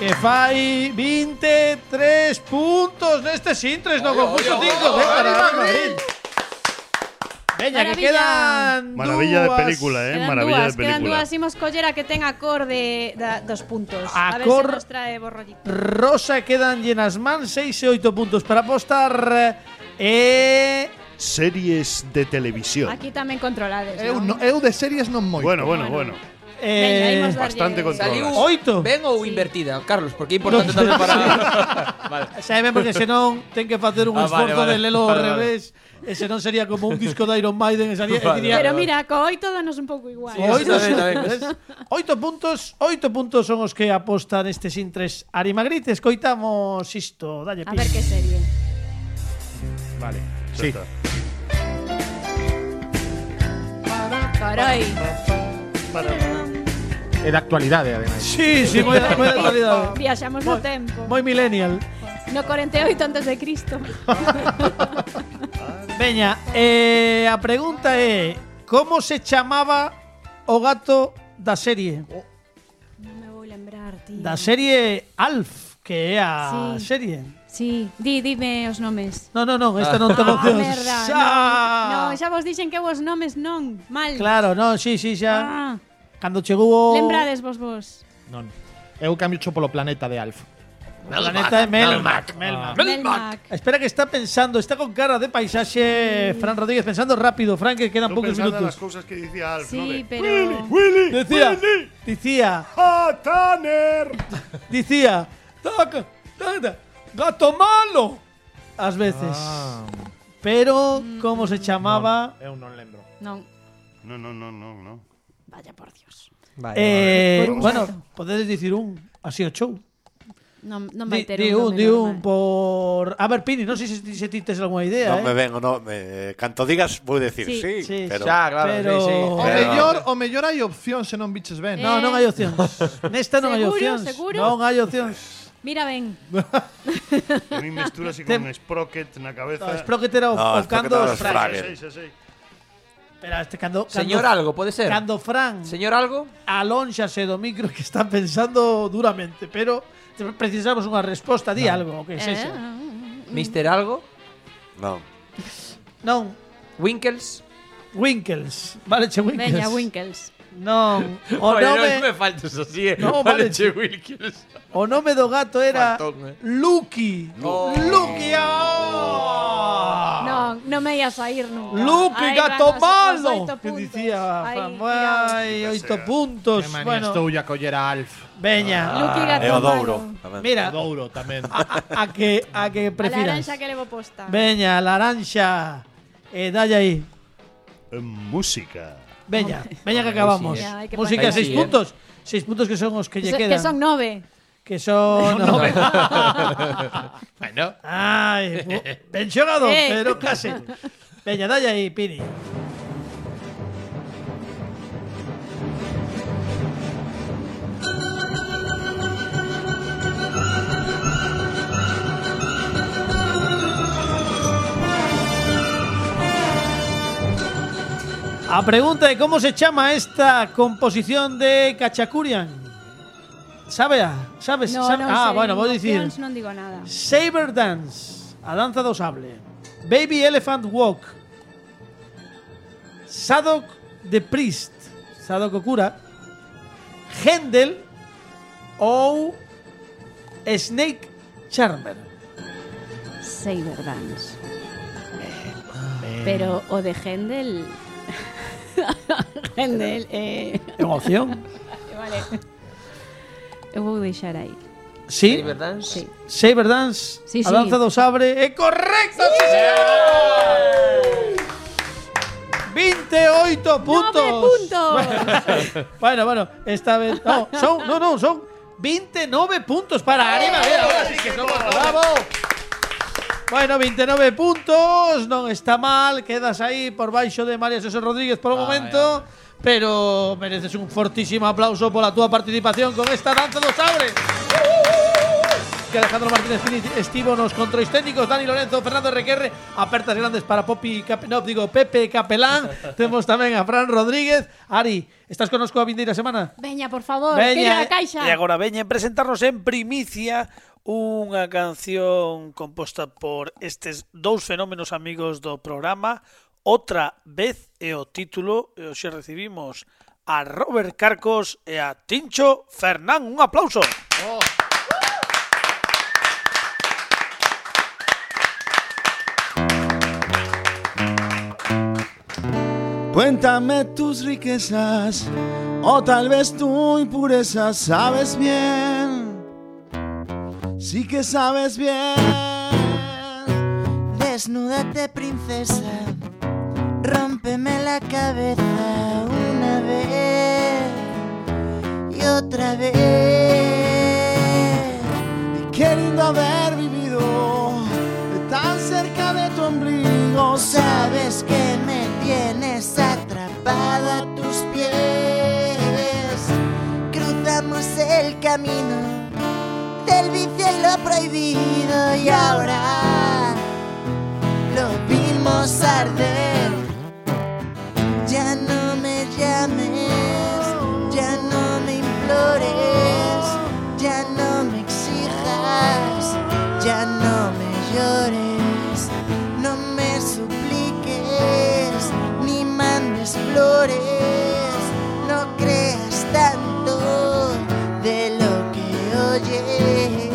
S2: Que fai 23 puntos neste Sintres no concurso 5 de Carabao Madrid. Veña, que
S6: Maravilla.
S2: quedan
S4: Maravilla
S2: dúas-
S4: de película, eh.
S6: quedan
S4: Maravilla
S6: dúas,
S4: de
S6: quedan
S4: película.
S6: dúas. Imos coller a que ten acorde da, dos puntos. A, ver
S2: Acor-
S6: se nos trae borrollito.
S2: Rosa quedan llenas man 6 e 8 puntos para apostar eh
S4: Series de televisión.
S6: Aquí tamén controlades,
S7: Eu,
S6: non?
S7: no, eu de series non moito.
S4: Bueno, bueno, bueno.
S6: Veña,
S2: eh
S6: imos darlle-
S4: bastante control.
S3: Saliu
S2: Oito.
S3: ben ou invertida, Carlos, porque é importante tamén para... vale.
S2: Sabemos porque senón ten que facer un
S3: Ah, vale,
S2: esforzo
S3: vale.
S2: de lelo ao
S3: Vale, vale.
S2: revés e senón sería como un disco de Iron Maiden e salía, e
S3: Vale,
S2: diría,
S6: Pero mira, co oito danos un pouco igual.
S3: Sí,
S2: Oito,
S3: Está ben, está ben.
S2: ves? oito puntos, oito puntos son os que apostan estes intres Ari Magritte, escoitamos isto, dalle
S6: A
S2: pin.
S6: ver que serie.
S4: Sí.
S6: Carai.
S9: É de actualidade, ademais.
S2: Sí, sí, moi da, moi da actualidade.
S6: Viaxamos no tempo.
S2: Moi millennial.
S6: No 48 antes de Cristo.
S2: Veña, eh, a pregunta é como se chamaba o gato da serie?
S6: non me vou lembrar, tío.
S2: Da serie Alf, que é a
S6: Sí.
S2: serie.
S6: Sí, di, dime os nomes.
S2: No, no, no, esta non ten
S6: Ah,
S2: opcións.
S6: merda.
S2: Ah.
S6: Non, non, xa vos dixen que vos nomes non. Mal.
S2: Claro, no, sí, sí, xa.
S6: Ah,
S2: Cando chegou o
S6: lembrades vos vos.
S9: Non. Eu cambio polo planeta de Alf.
S2: planeta de Melmac. Melmac.
S6: Melmac.
S2: Espera que está pensando, está con cara de paisaxe Fran Rodríguez pensando rápido, Fran, que quedan
S4: Tú
S2: pocos
S4: pensando en
S2: minutos.
S4: las cosas que decía Alf, ¿no? De,
S6: Sí, pero...
S4: Willy,
S2: Dicía, dicía,
S4: ¡Ah, Tanner!
S2: dicía, "Taca, taca, gato malo. Ás veces.
S4: Ah.
S2: Pero como se chamaba?
S9: Eu non lembro.
S6: Non,
S4: No, no, no, no, no.
S6: vaya por Dios.
S2: Eh,
S6: Por un
S2: bueno,
S6: gato.
S2: podedes dicir un así o chou.
S6: Non, non
S2: Di,
S6: vai ter
S2: di un,
S6: un nome
S2: di un
S6: normal.
S2: por... A ver, Pini, non sei se, ti- se ti tes algunha idea,
S5: Non me
S2: eh?
S5: vengo, no, me, canto digas vou decir
S6: Sí,
S5: sí,
S2: sí,
S5: pero
S3: Xa, claro,
S2: pero-
S3: sí, sí.
S4: O
S5: Pero-
S4: mellor, o mellor hai opción se non biches ben.
S2: No, non hai opcións. Nesta non hai
S6: Eh, Seguro,
S2: opcións.
S6: seguro?
S2: Non hai opcións.
S6: Mira ben,
S12: A mí mestura así con un sprocket na cabeza.
S2: No, Sprocket era o, o
S5: No,
S2: cando
S5: Sprocket era
S2: os
S5: os
S2: Fran.
S5: Fran.
S12: Sí, sí, sí.
S2: Pero este cando, cando,
S3: Señor algo, pode ser.
S2: Cando Fran
S3: Señor algo?
S2: alónxase do micro que está pensando duramente, pero precisamos unha resposta, di algo, o que
S6: eh,
S2: sexa.
S3: Mister algo?
S5: non.
S2: Non,
S3: Winkles?
S2: Winkles. Vale, che Winkles.
S6: veña Winkles.
S2: Non, o
S3: Oye,
S2: nome,
S3: no me faltes así, eh.
S2: No,
S3: vale,
S2: vale,
S3: che Winkles.
S2: o nome do gato era
S3: Faltón, eh.
S2: Lucky.
S3: No.
S2: Lucky.
S4: Ah.
S2: Oh!
S6: Non, non me ia sair nunca.
S2: Lucky,
S6: Aí van
S2: gato
S6: os- os
S2: malo.
S6: oito
S2: Que
S6: puntos.
S2: dicía
S6: Aí,
S2: Fran,
S6: tiraos.
S2: vai, oito puntos.
S4: Bueno.
S2: Bueno,
S4: Estou a coller a Alf.
S2: veña. Eh,
S6: Lucky, Ah. gato
S5: É o Douro.
S6: malo.
S5: tamén.
S2: Mira,
S4: O Douro tamén.
S2: a, a que a que
S6: A
S2: prefiras.
S6: laranxa que levo posta.
S2: Veña, laranxa. Eh, dalle aí.
S12: Eh, Música.
S2: Veña, veña que acabamos.
S6: eh. Ya, hay que
S2: Música,
S3: parar.
S2: seis
S3: Ahí sí, eh.
S2: puntos. Seis puntos que son los que lle
S6: So- que
S2: quedan.
S6: son nove.
S2: Que son- no, ve-
S4: bueno.
S2: Ay, bu- ben xogado,
S6: Eh.
S2: pero casi. Veña, dalle aí, Pini. A pregunta de cómo se llama esta composición de Cachacurian. ¿Sabe? a- ¿Sabes?
S6: No,
S2: Sabe-
S6: non
S2: ah,
S6: sei,
S2: bueno, voy a decir.
S6: opcións Non digo nada.
S2: Saber Dance, a danza do sable. Baby Elephant Walk. Sadok the Priest, Sadok o cura. Händel ou Snake Charmer.
S6: Saberdance. Pero o de Händel. Händel, eh,
S2: É unha opción?
S6: vale. Eu vou deixar aí.
S2: Sí,
S3: ¿Verdad?
S6: Sí.
S2: Saber Dance,
S6: Sí,
S2: a
S6: sí.
S2: danza do sabre. É correcto, sí, señor. 28 puntos.
S6: ¡Nove puntos!
S2: Bueno, bueno, esta vez. No, son, no, no, son 29 puntos para Anima. Mira, ahora sí que somos bravo. Bueno, 29 puntos, non está mal, quedas aí por baixo de María José Rodríguez por o momento, pero mereces un fortísimo aplauso pola túa participación con esta danza dos sabres. Que Alejandro Martínez Pini estivo nos controis técnicos, Dani Lorenzo, Fernando Requerre, apertas grandes para Popi Cap- no, digo, Pepe Capelán, temos tamén a Fran Rodríguez. Ari, estás conosco a vindeira semana?
S6: Veña, por favor,
S2: Veña,
S6: tira a
S2: eh,
S6: caixa.
S13: E agora veñen presentarnos en primicia unha canción composta por estes dous fenómenos amigos do programa Outra vez é o título e hoxe recibimos a Robert Carcos e a Tincho Fernán. Un aplauso.
S10: Cuéntame tus riquezas o tal vez tu impureza sabes bien. Sí que sabes bien. Desnúdate princesa, rómpeme la cabeza una vez y otra vez. Y qué lindo haber vivido tan cerca de tu ombligo. Sabes que me tienes atrapada a tus pies. Cruzamos el camino del vicio y lo prohibido y ahora lo vimos arder. Ya no me llames, ya no me implores, ya no me exijas, ya no me llores, no me supliques, ni mandes flores, no creas tanto de lo que oyes.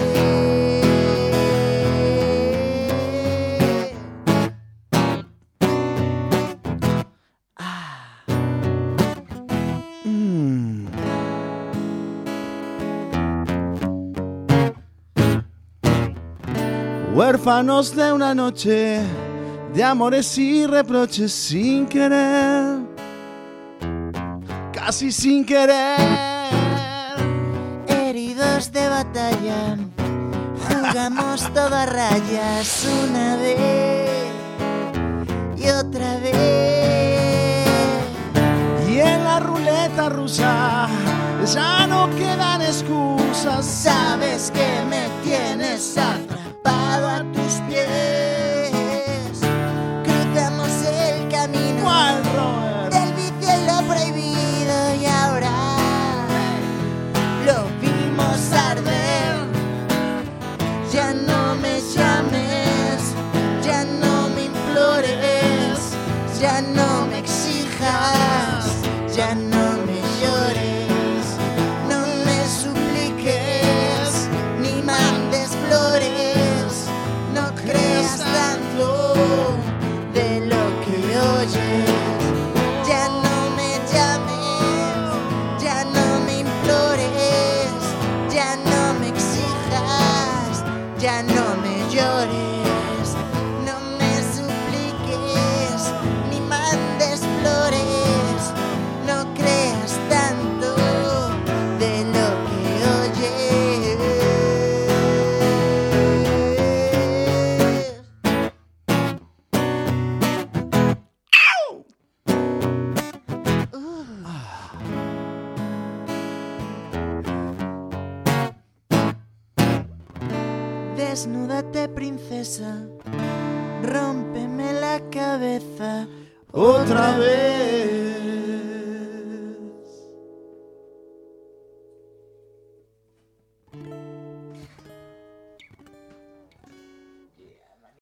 S10: Huérfanos de una noche de amores y reproches sin querer, casi sin querer, heridos de batalla Jugamos todo a rayas una vez y otra vez.
S14: Y en la ruleta rusa ya no quedan excusas.
S10: Sabes que me tienes atrapado a tus pies. Cruzamos el camino del vicio y lo prohibido y ahora lo vimos arder. Ya no me llames, ya no me implores, ya no me exijas, ya no me llores, no me supliques, ni mandes flores, no creas tanto de lo que oyes. Ya no me llames, ya no me implores, ya no me exijas, ya no me llores, no me supliques, ni mandes flores, no creas tanto de lo que oyes. Desnúdate, princesa, rómpeme la cabeza
S14: Otra vez.